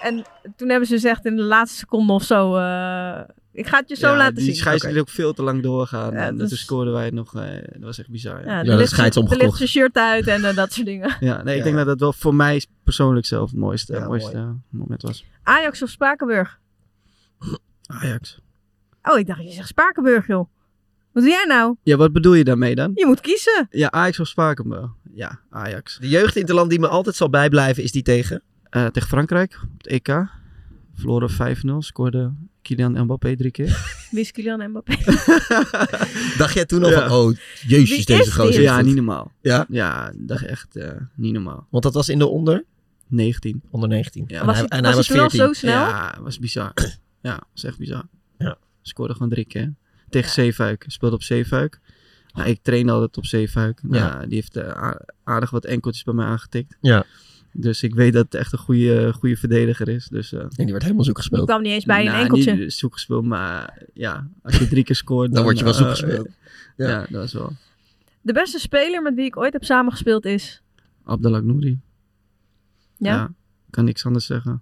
Speaker 3: En toen hebben ze dus echt in de laatste seconde of zo... eh, ik ga het je zo
Speaker 5: Ja,
Speaker 3: laten
Speaker 5: die
Speaker 3: zien.
Speaker 5: scheids liet ook veel te lang doorgaan.
Speaker 3: Ja,
Speaker 5: en
Speaker 3: dat
Speaker 5: toen
Speaker 3: is-
Speaker 5: scoorden wij het nog. eh, dat was echt bizar.
Speaker 3: Ja,
Speaker 5: Ja,
Speaker 3: de licht- De licht zijn shirt uit en eh, dat soort dingen. *laughs*
Speaker 5: Ja, nee, ik denk dat dat wel voor mij persoonlijk zelf het mooiste, mooiste moment was.
Speaker 3: Ajax of Spakenburg?
Speaker 5: Ajax.
Speaker 3: Oh, ik dacht je zegt Spakenburg joh. Wat doe jij nou?
Speaker 5: Ja, wat bedoel je daarmee dan?
Speaker 3: Je moet kiezen.
Speaker 5: Ja, Ajax of Spakenburg. Ja, Ajax. Eh,
Speaker 4: De jeugd in het land die me altijd zal bijblijven is die tegen?
Speaker 5: tegen Frankrijk op het EK. Verloren 5-0. Scoorde Kylian Mbappé drie keer.
Speaker 3: Wie is Kylian Mbappé?
Speaker 4: Dacht jij toen al van, oh, jezus,
Speaker 5: Wie
Speaker 4: deze
Speaker 5: is
Speaker 4: gozer
Speaker 5: dit?
Speaker 4: is
Speaker 5: Ja,
Speaker 4: goed.
Speaker 5: niet normaal.
Speaker 4: Ja?
Speaker 5: Ja, dacht echt eh, niet normaal.
Speaker 4: Want dat was in de onder?
Speaker 5: 19.
Speaker 4: Onder 19.
Speaker 5: Ja.
Speaker 4: en hij en hij was 14.
Speaker 5: Ja, was bizar. ja, was echt bizar. Ja. Scoorde gewoon drie keer. Tegen Zeefuik. Speelde op Zeefuik. Nou, ik trainde altijd op Zeefuik. Nou,
Speaker 4: Ja.
Speaker 5: Die heeft eh, a- aardig wat enkeltjes bij mij aangetikt.
Speaker 4: Ja.
Speaker 5: Dus ik weet dat het echt een goede, goede verdediger is. Dus, en
Speaker 4: die werd helemaal zoek
Speaker 3: gespeeld. Die kwam niet eens bij een enkeltje.
Speaker 5: Niet zoek gespeeld, maar ja, als je drie keer scoort...
Speaker 4: Dan word je wel
Speaker 5: eh,
Speaker 4: zoek gespeeld.
Speaker 5: ja. dat is wel.
Speaker 3: De beste speler met wie ik ooit heb samengespeeld is.
Speaker 5: Abdelak Nouri.
Speaker 3: Ja?
Speaker 5: kan niks anders zeggen.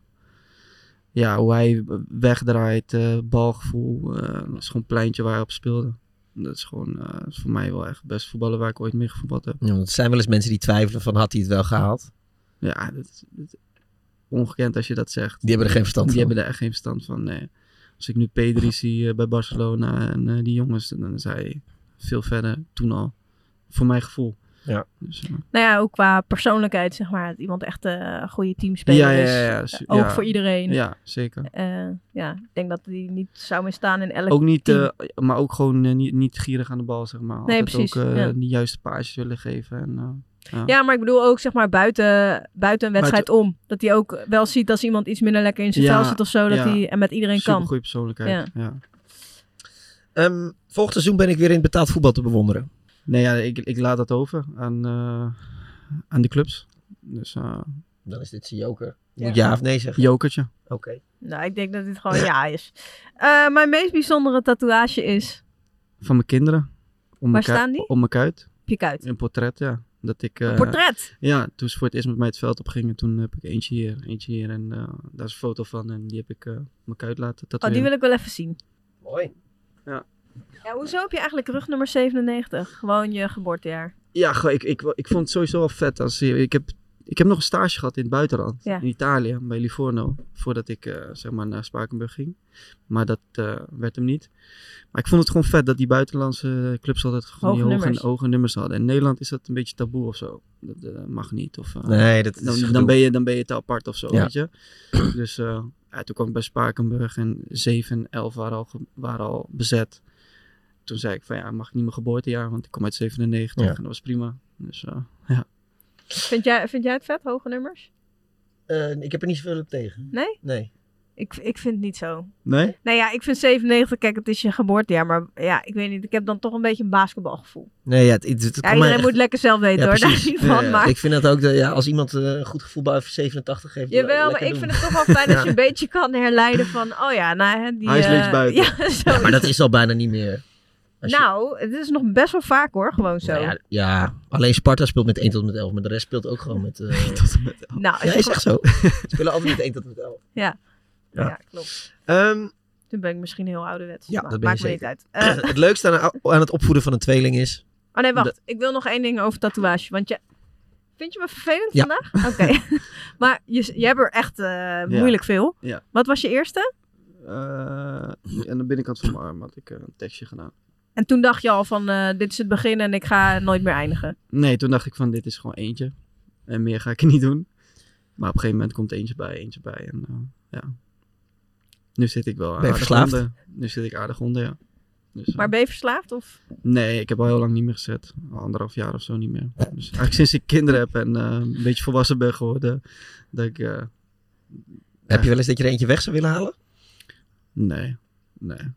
Speaker 5: Ja, hoe hij wegdraait, eh, balgevoel. eh, dat is gewoon een pleintje waar hij op speelde. Dat is gewoon eh, is voor mij wel echt het beste voetballer waar ik ooit mee gevoetbald heb.
Speaker 4: Ja, want er zijn wel eens mensen die twijfelen van, had hij het wel gehaald?
Speaker 5: Ja, dat, is- dat is ongekend als je dat zegt.
Speaker 4: Die hebben er geen verstand
Speaker 5: Die
Speaker 4: van.
Speaker 5: hebben er echt geen verstand van, nee. Als ik nu Pedri zie eh, bij Barcelona en eh, die jongens, dan is hij veel verder toen al. Voor mijn gevoel.
Speaker 4: Ja.
Speaker 5: Dus, eh,
Speaker 3: Nou ja, ook qua persoonlijkheid, zeg maar. Dat iemand echt eh, een goede teamspeler
Speaker 5: Ja, ja,
Speaker 3: is.
Speaker 5: ja, ja, su-
Speaker 3: Ook
Speaker 5: ja.
Speaker 3: voor iedereen.
Speaker 5: Ja, zeker.
Speaker 3: Eh, ja, ik denk dat die niet zou misstaan in elk
Speaker 5: ook niet,
Speaker 3: team.
Speaker 5: eh, maar ook gewoon eh, niet, niet gierig aan de bal, zeg maar.
Speaker 3: Nee,
Speaker 5: Altijd
Speaker 3: precies,
Speaker 5: ook eh,
Speaker 3: ja.
Speaker 5: de juiste paasjes willen geven. En, eh, ja.
Speaker 3: ja, maar ik bedoel ook, zeg maar, buiten, buiten een wedstrijd
Speaker 5: Buiten-
Speaker 3: om. Dat hij ook wel ziet als iemand iets minder lekker in zijn vel zit of zo. Dat hij en met iedereen kan.
Speaker 5: goede persoonlijkheid, ja.
Speaker 4: Ehm, volgend seizoen ben ik weer in het betaald voetbal te bewonderen.
Speaker 5: Nee, ja, ik, ik laat dat over aan, eh, aan de clubs. Dus,
Speaker 4: Dan is dit zijn joker.
Speaker 3: Ja.
Speaker 4: Moet ja of nee zeggen?
Speaker 5: Jokertje.
Speaker 4: Oké.
Speaker 3: Nou, ik denk dat dit
Speaker 5: *laughs*
Speaker 3: gewoon ja is. Eh, mijn meest bijzondere tatoeage is...
Speaker 5: Van mijn kinderen. Om
Speaker 3: Waar
Speaker 5: mijn kui-
Speaker 3: staan die?
Speaker 5: Om mijn kuit.
Speaker 3: Op je kuit.
Speaker 5: Een portret, ja. Dat ik, eh,
Speaker 3: portret?
Speaker 5: Ja, toen ze voor het eerst met mij het veld op gingen, toen heb ik eentje hier, eentje hier en eh, daar is een foto van en die heb ik eh, op mijn kuit laten
Speaker 3: Oh,
Speaker 5: tatoeëren.
Speaker 3: die wil ik wel even zien.
Speaker 8: Mooi.
Speaker 5: Ja.
Speaker 3: Ja, hoezo heb je eigenlijk rugnummer 97? Gewoon je geboortejaar.
Speaker 5: Ja, gewoon, ik, ik, ik vond het sowieso wel vet. Als, je- ik, heb, ik heb nog een stage gehad in het buitenland,
Speaker 3: Ja.
Speaker 5: in Italië, bij Livorno. Voordat ik eh, zeg maar naar Spakenburg ging. Maar dat eh, werd hem niet. Maar ik vond het gewoon vet dat die buitenlandse clubs altijd gewoon
Speaker 3: Hoge
Speaker 5: die hoge,
Speaker 3: nummers.
Speaker 5: hoge nummers hadden. In Nederland is dat een beetje taboe of zo. Dat eh, mag niet. Of, eh,
Speaker 4: Nee, dat is
Speaker 5: dan,
Speaker 4: gedoe.
Speaker 5: dan, ben je, dan ben je te apart of zo,
Speaker 4: Ja.
Speaker 5: weet
Speaker 4: *clears throat*
Speaker 5: je. Dus eh, ja, toen kwam ik bij Spakenburg en 7 en 11 waren al, ge- waren al bezet. Toen zei ik van ja, mag ik niet mijn geboortejaar, want ik kom uit 97
Speaker 4: Ja.
Speaker 5: en dat was prima. Dus eh, ja.
Speaker 3: Vind jij, vind jij het vet, hoge nummers?
Speaker 4: Ehm,
Speaker 8: Eh, ik heb er niet zoveel op tegen.
Speaker 3: Nee?
Speaker 8: Nee.
Speaker 3: Ik, ik vind het niet zo.
Speaker 5: Nee?
Speaker 3: Nou ja, ik vind 97, kijk, het is je geboortejaar, maar ja, ik weet niet. Ik heb dan toch een beetje een basketbalgevoel.
Speaker 4: Nee, ja, het, het, het kan
Speaker 3: Ja,
Speaker 4: mij
Speaker 3: iedereen
Speaker 4: echt-
Speaker 3: moet lekker zelf weten
Speaker 4: Ja,
Speaker 3: hoor, daar
Speaker 4: precies.
Speaker 3: niet van.
Speaker 4: Ja, ja.
Speaker 3: maar...
Speaker 4: Ik vind dat ook, de, ja, als iemand eh, een goed gevoel bij 87 geeft,
Speaker 3: Jawel, maar ik vind het toch wel fijn dat
Speaker 4: *laughs*
Speaker 3: je
Speaker 4: Ja.
Speaker 3: een beetje kan herleiden van, oh ja, nou hè, die...
Speaker 4: Hij is
Speaker 3: eh,
Speaker 4: links buiten.
Speaker 3: *laughs* Ja, zo.
Speaker 4: Ja, maar dat is al bijna niet meer. als je-
Speaker 3: Nou, het is nog best wel vaak hoor, gewoon zo. Nou,
Speaker 4: Ja, alleen Sparta speelt met 1 tot en met 11, maar de rest speelt ook gewoon
Speaker 3: *laughs*
Speaker 4: met... eh
Speaker 3: Nou, als
Speaker 4: ja,
Speaker 3: je
Speaker 4: is
Speaker 3: gewoon-
Speaker 4: echt zo. Ze spelen altijd met 1 tot en met 11.
Speaker 3: Ja.
Speaker 4: Ja. Ehm,
Speaker 3: Ja, klopt. Toen ben ik misschien heel ouderwets.
Speaker 4: Ja,
Speaker 3: maar
Speaker 4: dat ben
Speaker 3: maakt
Speaker 4: je
Speaker 3: me
Speaker 4: zeker.
Speaker 3: niet uit. Eh,
Speaker 4: het leukste aan, aan het opvoeden van een tweeling is...
Speaker 3: oh nee, wacht.
Speaker 4: Dat-
Speaker 3: Ik wil nog één ding over tatoeage. Want je... Vind je me vervelend
Speaker 4: Ja.
Speaker 3: vandaag? Oké.
Speaker 4: *laughs*
Speaker 3: maar je, je hebt er echt eh, moeilijk veel.
Speaker 5: Ja.
Speaker 3: Wat was je eerste?
Speaker 5: Eh, aan de binnenkant van mijn arm had ik eh, een tekstje gedaan.
Speaker 3: En toen dacht je al van, eh, dit is het begin en ik ga nooit meer eindigen.
Speaker 5: Nee, toen dacht ik van dit is gewoon eentje. En meer ga ik niet doen. Maar op een gegeven moment komt eentje bij, eentje bij. En eh, ja. Nu zit ik wel
Speaker 4: je
Speaker 5: aardig
Speaker 4: verslaafd?
Speaker 5: onder. Nu zit ik aardig onder, ja. Dus, eh,
Speaker 3: Maar ben je verslaafd of?
Speaker 5: Nee, ik heb al heel lang niet meer gezet. Al Anderhalf jaar of zo niet meer. Dus eigenlijk sinds ik kinderen heb en eh, een beetje volwassen ben geworden, dat ik... eh,
Speaker 4: Heb je wel eens dat je er eentje weg zou willen halen?
Speaker 5: Nee, nee.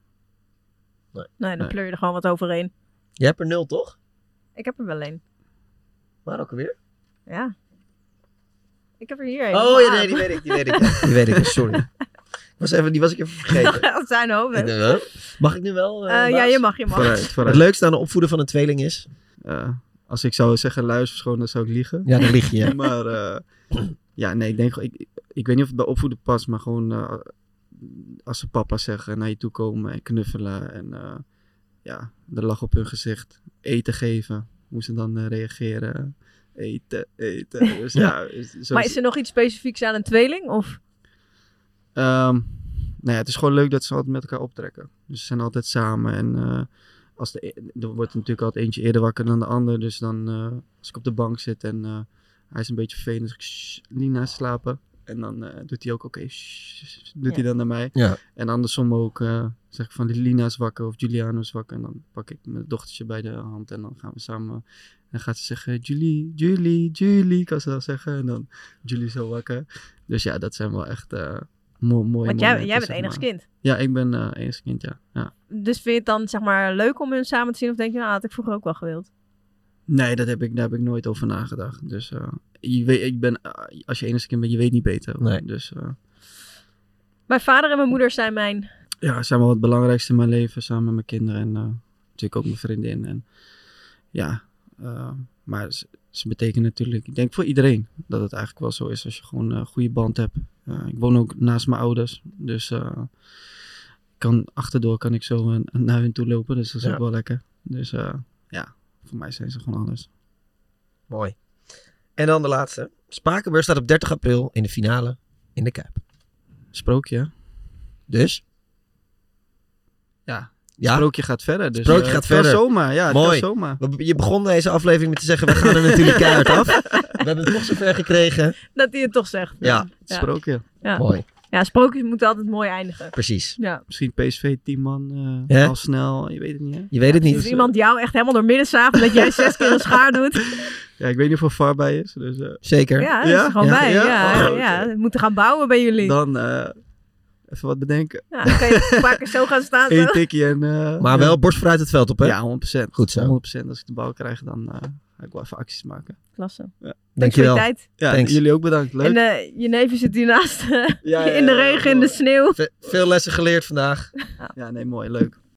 Speaker 3: Nee, dan
Speaker 4: Nee.
Speaker 3: pleur je er gewoon wat overheen.
Speaker 4: Je hebt er nul, toch?
Speaker 3: Ik heb er wel één.
Speaker 4: Maar ook weer.
Speaker 3: Ja. Ik heb er hier één.
Speaker 4: Oh ja, nee, die weet ik, die weet ik. ja. Die weet ik, sorry. Ik Was even, die was ik even
Speaker 3: *laughs*
Speaker 4: vergeten.
Speaker 3: Ah. dat zijn hoofd.
Speaker 4: Eh, Mag ik nu wel? eh,
Speaker 3: Eh, ja,
Speaker 4: baas?
Speaker 3: je mag, je mag. Vooruit,
Speaker 5: vooruit.
Speaker 4: Het leukste aan het opvoeden van een tweeling is...
Speaker 5: Eh, als ik zou zeggen luisterschoon, dan zou ik liegen.
Speaker 4: Ja, dan lieg je, ja. *laughs*
Speaker 5: maar eh, ja, nee, ik denk, ik, ik, ik weet niet of het bij opvoeden past, maar gewoon eh, als ze papa zeggen, naar je toe komen en knuffelen en eh, ja, de lach op hun gezicht, eten geven, hoe ze dan eh, reageren. Eten, eten. Dus ja, is- zo
Speaker 3: Maar is er nog iets specifieks aan een tweeling? Of?
Speaker 5: Ehm, nou ja, het is gewoon leuk dat ze altijd met elkaar optrekken. Dus ze zijn altijd samen. En eh, als de, e- er wordt natuurlijk altijd eentje eerder wakker dan de ander. Dus dan eh, als ik op de bank zit en eh, hij is een beetje vervelend. Dus ik "Shh, Lina slapen. En dan eh, doet hij ook oké. shh, doet hij
Speaker 4: Ja.
Speaker 5: dan naar mij.
Speaker 4: Ja.
Speaker 5: En andersom ook eh, zeg ik van Lina is wakker of Juliano is wakker. En dan pak ik mijn dochtertje bij de hand. En dan gaan we samen. En dan gaat ze zeggen Julie, Julie, Julie. Kan ze dan zeggen. En dan Julie is al wakker. Dus ja, dat zijn wel echt eh mo- mooie
Speaker 3: Want jij-
Speaker 5: momenten,
Speaker 3: jij bent
Speaker 5: zeg
Speaker 3: enigst
Speaker 5: maar.
Speaker 3: kind.
Speaker 5: Ja, ik ben eh enigst kind, ja. ja.
Speaker 3: Dus vind je het dan zeg maar leuk om hun samen te zien? Of denk je, nou, dat had ik vroeger ook wel gewild?
Speaker 5: Nee, dat heb ik, daar heb ik nooit over nagedacht. Dus eh, je weet, ik ben, eh, als je enigst kind bent, je weet niet beter.
Speaker 4: Nee.
Speaker 5: Dus eh,
Speaker 3: Mijn vader en mijn moeder zijn mijn...
Speaker 5: ja, zijn wel het belangrijkste in mijn leven, samen met mijn kinderen en eh, natuurlijk ook mijn vriendin. En, ja, eh, maar ze, ze betekenen natuurlijk, ik denk voor iedereen dat het eigenlijk wel zo is als je gewoon een goede band hebt. Eh, ik woon ook naast mijn ouders, dus eh, kan, achterdoor kan ik zo eh, naar hun toe lopen, dus dat is
Speaker 4: Ja.
Speaker 5: ook wel lekker. Dus eh, ja, voor mij zijn ze gewoon alles.
Speaker 4: Mooi. En dan de laatste. Spakenburg staat op 30 april in de finale in de Kuip.
Speaker 5: Sprookje.
Speaker 4: Dus?
Speaker 5: Ja.
Speaker 4: Ja?
Speaker 5: Sprookje gaat verder. Dus,
Speaker 4: Sprookje
Speaker 5: eh,
Speaker 4: gaat
Speaker 5: het kan
Speaker 4: verder.
Speaker 5: zomaar, ja, het kan
Speaker 4: Mooi.
Speaker 5: zomaar.
Speaker 4: We- Je begon deze aflevering met te zeggen, we gaan er
Speaker 3: *laughs*
Speaker 4: natuurlijk keihard af. We hebben het toch zover gekregen.
Speaker 3: Dat hij het toch zegt.
Speaker 4: Ja.
Speaker 5: Sprookje.
Speaker 3: Ja.
Speaker 4: Mooi.
Speaker 3: Ja, sprookjes moeten altijd mooi eindigen.
Speaker 4: Precies.
Speaker 3: Ja.
Speaker 5: Misschien PSV, 10 man, eh,
Speaker 4: Ja?
Speaker 5: al snel, je weet het niet. Hè?
Speaker 4: Je weet het niet.
Speaker 3: Dus iemand jou echt helemaal door midden zaagt dat jij zes keer een schaar doet.
Speaker 5: Ja, ik weet niet of er VAR bij is. Dus, eh,
Speaker 4: Zeker.
Speaker 3: Ja, dat is er gewoon bij. Ja, ja,
Speaker 5: Oh,
Speaker 3: we moeten gaan bouwen bij jullie.
Speaker 5: Dan eh, even wat bedenken.
Speaker 3: Ja, dan kan je een paar keer zo gaan
Speaker 5: *laughs*
Speaker 3: staan.
Speaker 5: Eén
Speaker 3: zo.
Speaker 5: tikje en... eh,
Speaker 4: Maar wel borst vooruit het veld op, hè?
Speaker 5: Ja, 100%.
Speaker 4: Goed zo.
Speaker 5: 100%. Als ik de bal krijg, dan eh, ga ik wel even acties maken.
Speaker 3: Klasse.
Speaker 5: Ja.
Speaker 4: Dankjewel.
Speaker 3: Voor je tijd.
Speaker 5: Ja,
Speaker 4: Thanks.
Speaker 5: jullie ook bedankt. Leuk.
Speaker 3: En eh, je neefje zit hiernaast.
Speaker 5: ja,
Speaker 3: *laughs* in de
Speaker 5: ja,
Speaker 3: regen, in de sneeuw.
Speaker 4: Veel lessen geleerd vandaag.
Speaker 5: Ja, nee, mooi. Leuk.